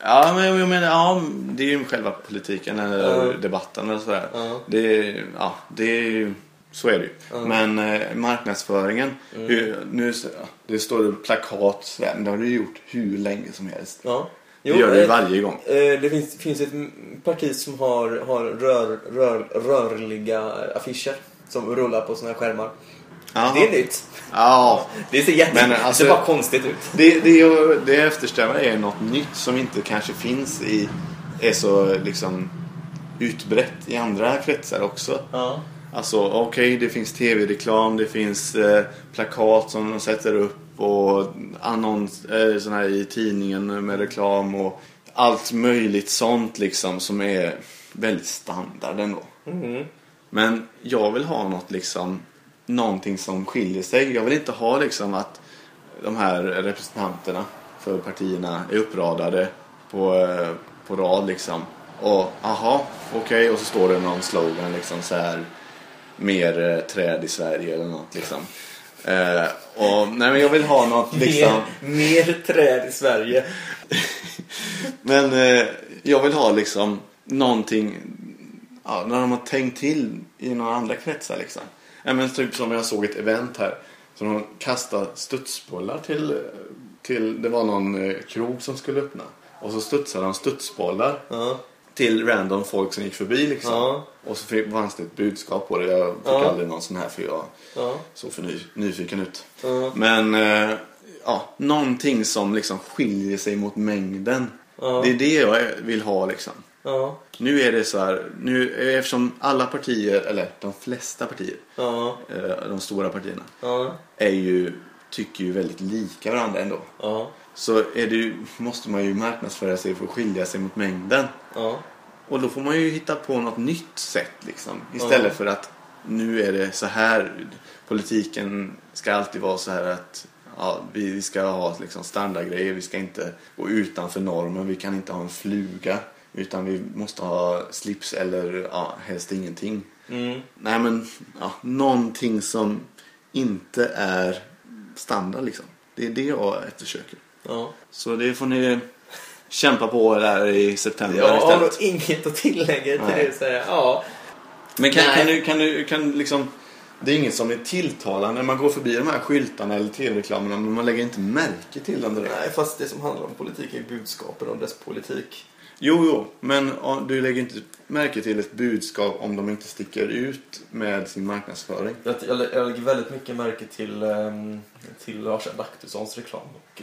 Speaker 2: Ja, men jag menar, ja, det är ju själva politiken eller
Speaker 1: Ja.
Speaker 2: debatten eller sådär.
Speaker 1: Ja.
Speaker 2: Det, är- ja, det är ju, så är det ju. Men eh, marknadsföringen,
Speaker 1: Mm.
Speaker 2: hur, nu så- det står det plakat sådär, men det har du gjort hur länge som helst.
Speaker 1: Ja.
Speaker 2: det gör du ju
Speaker 1: eh,
Speaker 2: varje gång.
Speaker 1: Eh, Det finns, finns ett m- parti som har, har rör, rör, rörliga affischer som rullar på såna här skärmar.
Speaker 2: Jaha.
Speaker 1: Det är nytt.
Speaker 2: Ja,
Speaker 1: Det ser jätte...
Speaker 2: Men, alltså-
Speaker 1: det ser bara konstigt ut.
Speaker 2: det, det, jag- det jag eftersträvar är något nytt som inte kanske finns i, är så liksom utbrett i andra kretsar också.
Speaker 1: Ja.
Speaker 2: Alltså okej, det finns tv-reklam, det finns eh, plakat som de sätter upp och annons, eh, sån här i tidningen med reklam och allt möjligt sånt liksom som är väldigt standard ändå. Men jag vill ha något liksom, någonting som skiljer sig. Jag vill inte ha liksom att de här representanterna för partierna är uppradade på, eh, på rad liksom. Och aha, okej, och så står det någon slogan liksom så här mer eh, träd i Sverige eller något liksom. Eh, och, nej men jag vill ha något liksom.
Speaker 1: Mer, mer träd i Sverige.
Speaker 2: Men eh, jag vill ha liksom någonting ja, när de har tänkt till i några andra kretsar liksom. Ja, men typ som jag såg ett event här. Som de kastade studsbollar till, eh, till, det var någon eh, krog som skulle öppna. Och så studsade de studsbollar
Speaker 1: Ja.
Speaker 2: till random folk som gick förbi liksom.
Speaker 1: Ja.
Speaker 2: Och så fick, fanns det ett budskap på det. Jag fick
Speaker 1: Ja.
Speaker 2: aldrig någon sån här för jag
Speaker 1: Ja.
Speaker 2: såg för ny, nyfiken ut.
Speaker 1: Ja.
Speaker 2: Men eh, ja, någonting som liksom skiljer sig mot mängden.
Speaker 1: Ja.
Speaker 2: Det är det jag vill ha liksom.
Speaker 1: Ja.
Speaker 2: Nu är det så här, nu, eftersom alla partier, eller de flesta partier,
Speaker 1: Ja.
Speaker 2: eh, de stora partierna,
Speaker 1: Ja.
Speaker 2: är ju, tycker ju väldigt lika varandra ändå.
Speaker 1: Ja.
Speaker 2: Så är det, ju- måste man ju marknadsföra sig för att skilja sig mot mängden.
Speaker 1: Ja.
Speaker 2: Och då får man ju hitta på något nytt sätt liksom. Istället för att nu är det så här. Politiken ska alltid vara så här att ja, vi vi ska ha liksom standardgrejer. Vi ska inte gå utanför normen. Vi kan inte ha en fluga. Utan vi måste ha slips eller ja, helst ingenting.
Speaker 1: Mm.
Speaker 2: Nej men, ja, någonting som inte är standard liksom. Det är det jag eftersöker.
Speaker 1: Ja.
Speaker 2: Så det får ni kämpa på där i september
Speaker 1: Ja,
Speaker 2: istället.
Speaker 1: och inget att tillägga till
Speaker 2: Nej.
Speaker 1: det. Så här, ja.
Speaker 2: Men kan,
Speaker 1: Nej.
Speaker 2: kan du, kan du, kan liksom... Det är inget som är tilltalande. Man går förbi de här skyltarna eller tv-reklamerna men man lägger inte märke till dem direkt.
Speaker 1: Nej, fast det som handlar om politik är ju budskapen om dess politik.
Speaker 2: Jo, jo, men ja, du lägger inte märke till ett budskap om de inte sticker ut med sin marknadsföring.
Speaker 1: Jag, jag, jag lägger väldigt mycket märke till, ehm, till Lars Adaktussons reklam. Och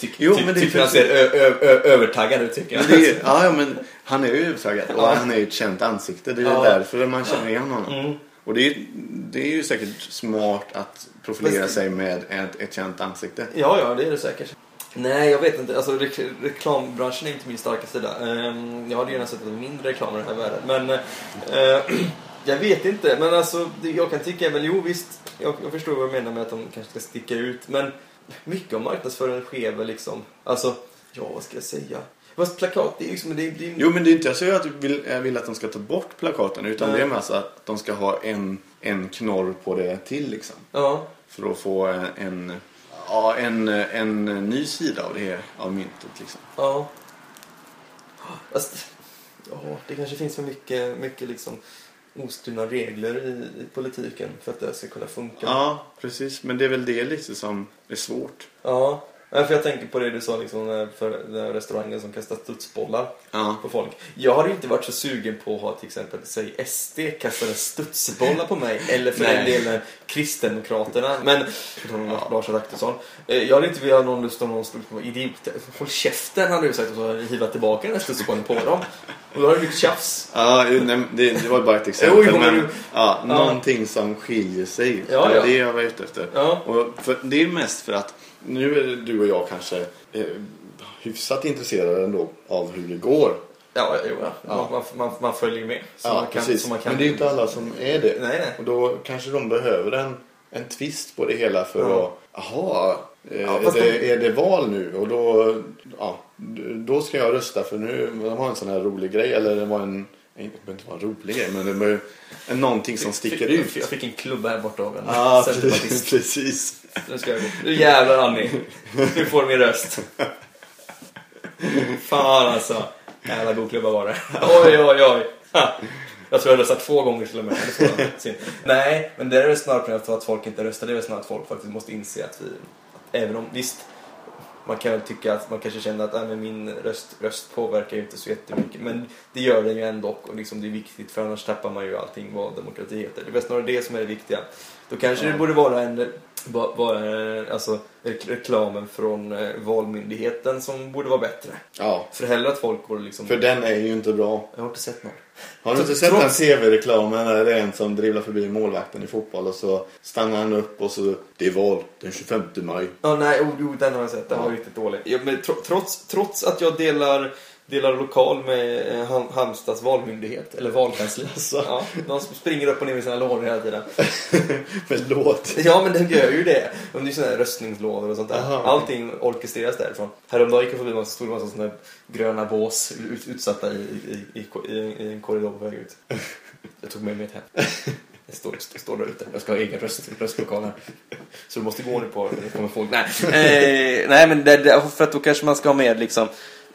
Speaker 1: ty,
Speaker 2: Jo,
Speaker 1: ty,
Speaker 2: men det är
Speaker 1: tycker han
Speaker 2: precis-
Speaker 1: ser ö, ö, ö, övertaggad ut tycker jag.
Speaker 2: Men det är, ja, ja, men han är ju övertygad och han är ju ett känt ansikte. Det är ju
Speaker 1: Ja.
Speaker 2: därför man känner igen honom.
Speaker 1: Mm.
Speaker 2: Och det är, det är ju säkert smart att profilera
Speaker 1: Fast-
Speaker 2: sig med ett, ett känt ansikte.
Speaker 1: Ja, ja, det är det säkert. Nej, jag vet inte. Alltså, rek- reklambranschen är inte min starka sida. Ehm, Jag hade gärna sett en mindre reklam i den här världen. Men eh, jag vet inte. Men alltså, det- jag kan tycka väl, jo visst, jag, jag förstår vad du menar med att de kanske ska sticka ut. Men mycket av marknadsföringen sker väl liksom, alltså, ja vad ska jag säga? Fast plakat, det är ju liksom, det, är- det är
Speaker 2: Jo, men det är inte jag säger att jag vill, jag vill att de ska ta bort plakaten utan
Speaker 1: Nej.
Speaker 2: det är med alltså att de ska ha en, en knorr på det till liksom.
Speaker 1: Ja,
Speaker 2: För att få en, en, ja, en, eh, en ny sida av det här, av myntet liksom.
Speaker 1: ja. Fast, ja, det kanske finns för mycket, mycket liksom oskrivna regler i, i politiken för att det ska kunna funka.
Speaker 2: Ja, precis. Men det är väl det lite som är svårt.
Speaker 1: Ja, nej, för jag tänker på det du sa liksom eh, för den här restaurangen som kastar studsbollar
Speaker 2: Ja.
Speaker 1: på folk. Jag hade inte varit så sugen på att ha till exempel, säg SD kastade studsbollar på mig eller för den
Speaker 2: Nej.
Speaker 1: delen Kristdemokraterna. Men, ja. Lars Adaktusson. Eh, Jag hade inte velat ha någon lust om någon stod på idiot. Håll käften hade du sagt och så hade jag hivat tillbaka den här studsbollen på dem. Och då hade det blivit tjafs.
Speaker 2: Ja, ju, nej, det, det var ju bara ett
Speaker 1: Jo,
Speaker 2: exempel.
Speaker 1: jo, men
Speaker 2: men,
Speaker 1: du-
Speaker 2: ja,
Speaker 1: ja.
Speaker 2: Någonting som skiljer sig.
Speaker 1: Ja,
Speaker 2: det
Speaker 1: ja.
Speaker 2: är det jag var ute efter.
Speaker 1: Ja.
Speaker 2: Och för, det är mest för att nu är du och jag kanske eh, hyfsat intresserade ändå av hur det går.
Speaker 1: Ja, jo, ja.
Speaker 2: Ja.
Speaker 1: Man, man, man följer med. Så
Speaker 2: ja,
Speaker 1: man kan,
Speaker 2: precis.
Speaker 1: Så man kan...
Speaker 2: Men det är ju inte alla som är det.
Speaker 1: Nej, nej.
Speaker 2: Och då kanske de behöver en, en twist på det hela för
Speaker 1: Ja.
Speaker 2: att, jaha, eh,
Speaker 1: Ja,
Speaker 2: är,
Speaker 1: fast
Speaker 2: det,
Speaker 1: de-
Speaker 2: är det val nu? Och då, ja, då ska jag rösta för nu, de har en sån här rolig grej, eller det var en, det behöver inte vara en rolig grej, men det var ju en- någonting som sticker
Speaker 1: Fick-
Speaker 2: ut.
Speaker 1: Jag fick en klubba här borta av en
Speaker 2: Ja,
Speaker 1: centerpartist.
Speaker 2: precis. precis.
Speaker 1: Nu ska jag gå. Nu jävlar Annie. Nu får du min röst. Fan alltså. Jävla god klubba var det. Oj, oj, oj. Ha. Jag tror jag röstat två gånger till och med. Det är så synd. Nej, men det är väl snarare problemet för att folk inte röstar. Det är väl snarare att folk faktiskt måste inse att vi... Att även om, visst. Man kan väl tycka att man kanske känner att äh, men min röst, röst påverkar ju inte så jättemycket. Men det gör den ju ändå och liksom det är viktigt för annars tappar man ju allting vad demokrati heter. Det är väl snarare det som är det viktiga. Då kanske det borde vara en ba- bara, eh, alltså, rek- reklamen från eh, Valmyndigheten som borde vara bättre.
Speaker 2: Ja,
Speaker 1: För hellre att folk går liksom...
Speaker 2: för den är ju inte bra.
Speaker 1: Jag har inte sett någon.
Speaker 2: Har du inte
Speaker 1: Trots-
Speaker 2: sett den
Speaker 1: trots-
Speaker 2: tv-reklamen där det är en som dribblar förbi målvakten i fotboll och så stannar han upp och så, det är val den 25 maj.
Speaker 1: Ja, nej, oh, jo, den har jag sett. Den var riktigt dålig. Ja, men tro, trots, trots att jag delar, delar lokal med eh, Ham- Halmstads valmyndighet, eller valkansli.
Speaker 2: Alltså.
Speaker 1: Ja, de som springer upp och ner med sina lådor hela tiden.
Speaker 2: Förlåt.
Speaker 1: Ja, men den gör ju det. De är ju sådana här röstningslådor och sånt där.
Speaker 2: Aha.
Speaker 1: Allting orkestreras därifrån. Häromdagen gick jag förbi en massa, stod en massa sådana här gröna bås ut, utsatta i, i, i, i, i en korridor på väg ut. Jag tog med mig ett hem. Jag står, står, står där ute. Jag ska ha egen röst, röstlokal här. Så du måste gå nu på det kommer folk. Nej, eh, nej men det, det, för att då kanske man ska ha med liksom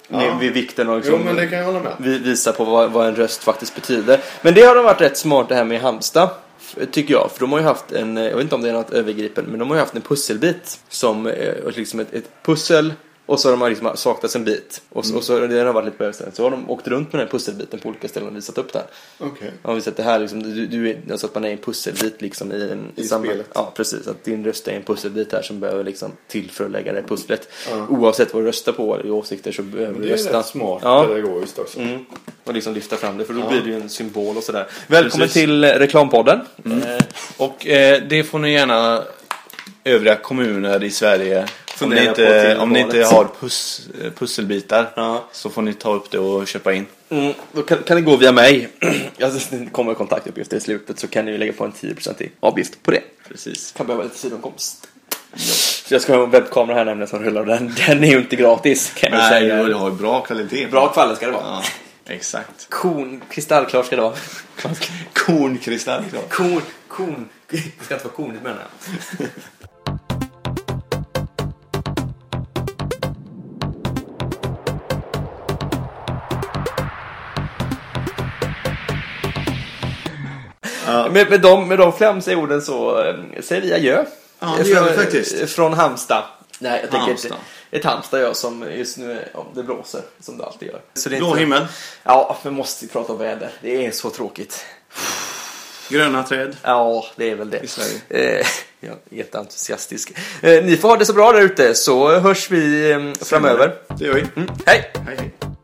Speaker 2: Ja.
Speaker 1: med- vid vikten och
Speaker 2: Jo,
Speaker 1: liksom,
Speaker 2: men det kan jag hålla med.
Speaker 1: vi visa på vad, vad en röst faktiskt betyder. Men det har de varit rätt smart det här med Halmstad. f- Tycker jag, för de har ju haft en, eh, jag vet inte om det är något övergripande, men de har ju haft en pusselbit som, eh, liksom ett, ett pussel och så har de liksom saknats en bit. Och så, och så det har varit lite på överställd. Så har de åkt runt med den här pusselbiten på olika ställen och visat upp den.
Speaker 2: Okej.
Speaker 1: Ja, vi sätter här liksom, du, du är, alltså att man är en pusselbit liksom i en...
Speaker 2: I
Speaker 1: samma-
Speaker 2: spelet.
Speaker 1: Ja, precis. Att din röst är en pusselbit här som behöver liksom till för att lägga det här pusslet. Oavsett vad du röstar på eller åsikter så behöver
Speaker 2: Det
Speaker 1: du
Speaker 2: är
Speaker 1: rösta.
Speaker 2: rätt smart eh,
Speaker 1: Ja.
Speaker 2: pedagogiskt också.
Speaker 1: Mm. Och liksom lyfta fram det, för då
Speaker 2: Ja.
Speaker 1: blir det ju en symbol och sådär. Välkommen
Speaker 2: Precis. Mm.
Speaker 1: till eh, Reklampodden. Eh,
Speaker 2: Och eh, det får ni gärna övriga kommuner i Sverige
Speaker 1: Om
Speaker 2: Om ni inte, om ni inte
Speaker 1: valet.
Speaker 2: har pus, eh, pusselbitar
Speaker 1: Ja.
Speaker 2: så får ni ta upp det och köpa in.
Speaker 1: Mm, då kan, kan det gå via mig. alltså, det kommer kontaktuppgifter i slutet så kan ni ju lägga på en 10% avgift på det.
Speaker 2: Precis.
Speaker 1: Kan behöva lite sidoinkomst. Så jag ska ha en webbkamera här nämligen som rullar. Den, den är ju inte gratis kan jag
Speaker 2: Nej,
Speaker 1: säga.
Speaker 2: jo, det har ju bra kvalitet.
Speaker 1: Bra kvalitet ska det vara.
Speaker 2: Ja, exakt.
Speaker 1: Kon, kristallklar ska det vara.
Speaker 2: Kornkristall.
Speaker 1: Kon, kon. Det ska inte vara konigt menar jag. Med, med, de, med de flamsiga orden så eh, säger vi adjö.
Speaker 2: Ja, det gör
Speaker 1: Från-
Speaker 2: vi
Speaker 1: eh,
Speaker 2: faktiskt.
Speaker 1: Från Halmstad. Nej, jag tänker
Speaker 2: Halmstad.
Speaker 1: Halmstad. Ett, ett Halmstad jag som just nu, är- ja, det blåser som det alltid gör. Så det är
Speaker 2: Blå
Speaker 1: inte-
Speaker 2: himmel,
Speaker 1: Ja, vi måste ju prata om väder. Det är så tråkigt.
Speaker 2: gröna träd.
Speaker 1: Ja, det är väl det.
Speaker 2: I Sverige.
Speaker 1: Eh, jag är jätteentusiastisk. Eh, ni får ha det så bra där ute så hörs vi eh, framöver.
Speaker 2: Det gör vi.
Speaker 1: Mm, hej!
Speaker 2: Hej, hej.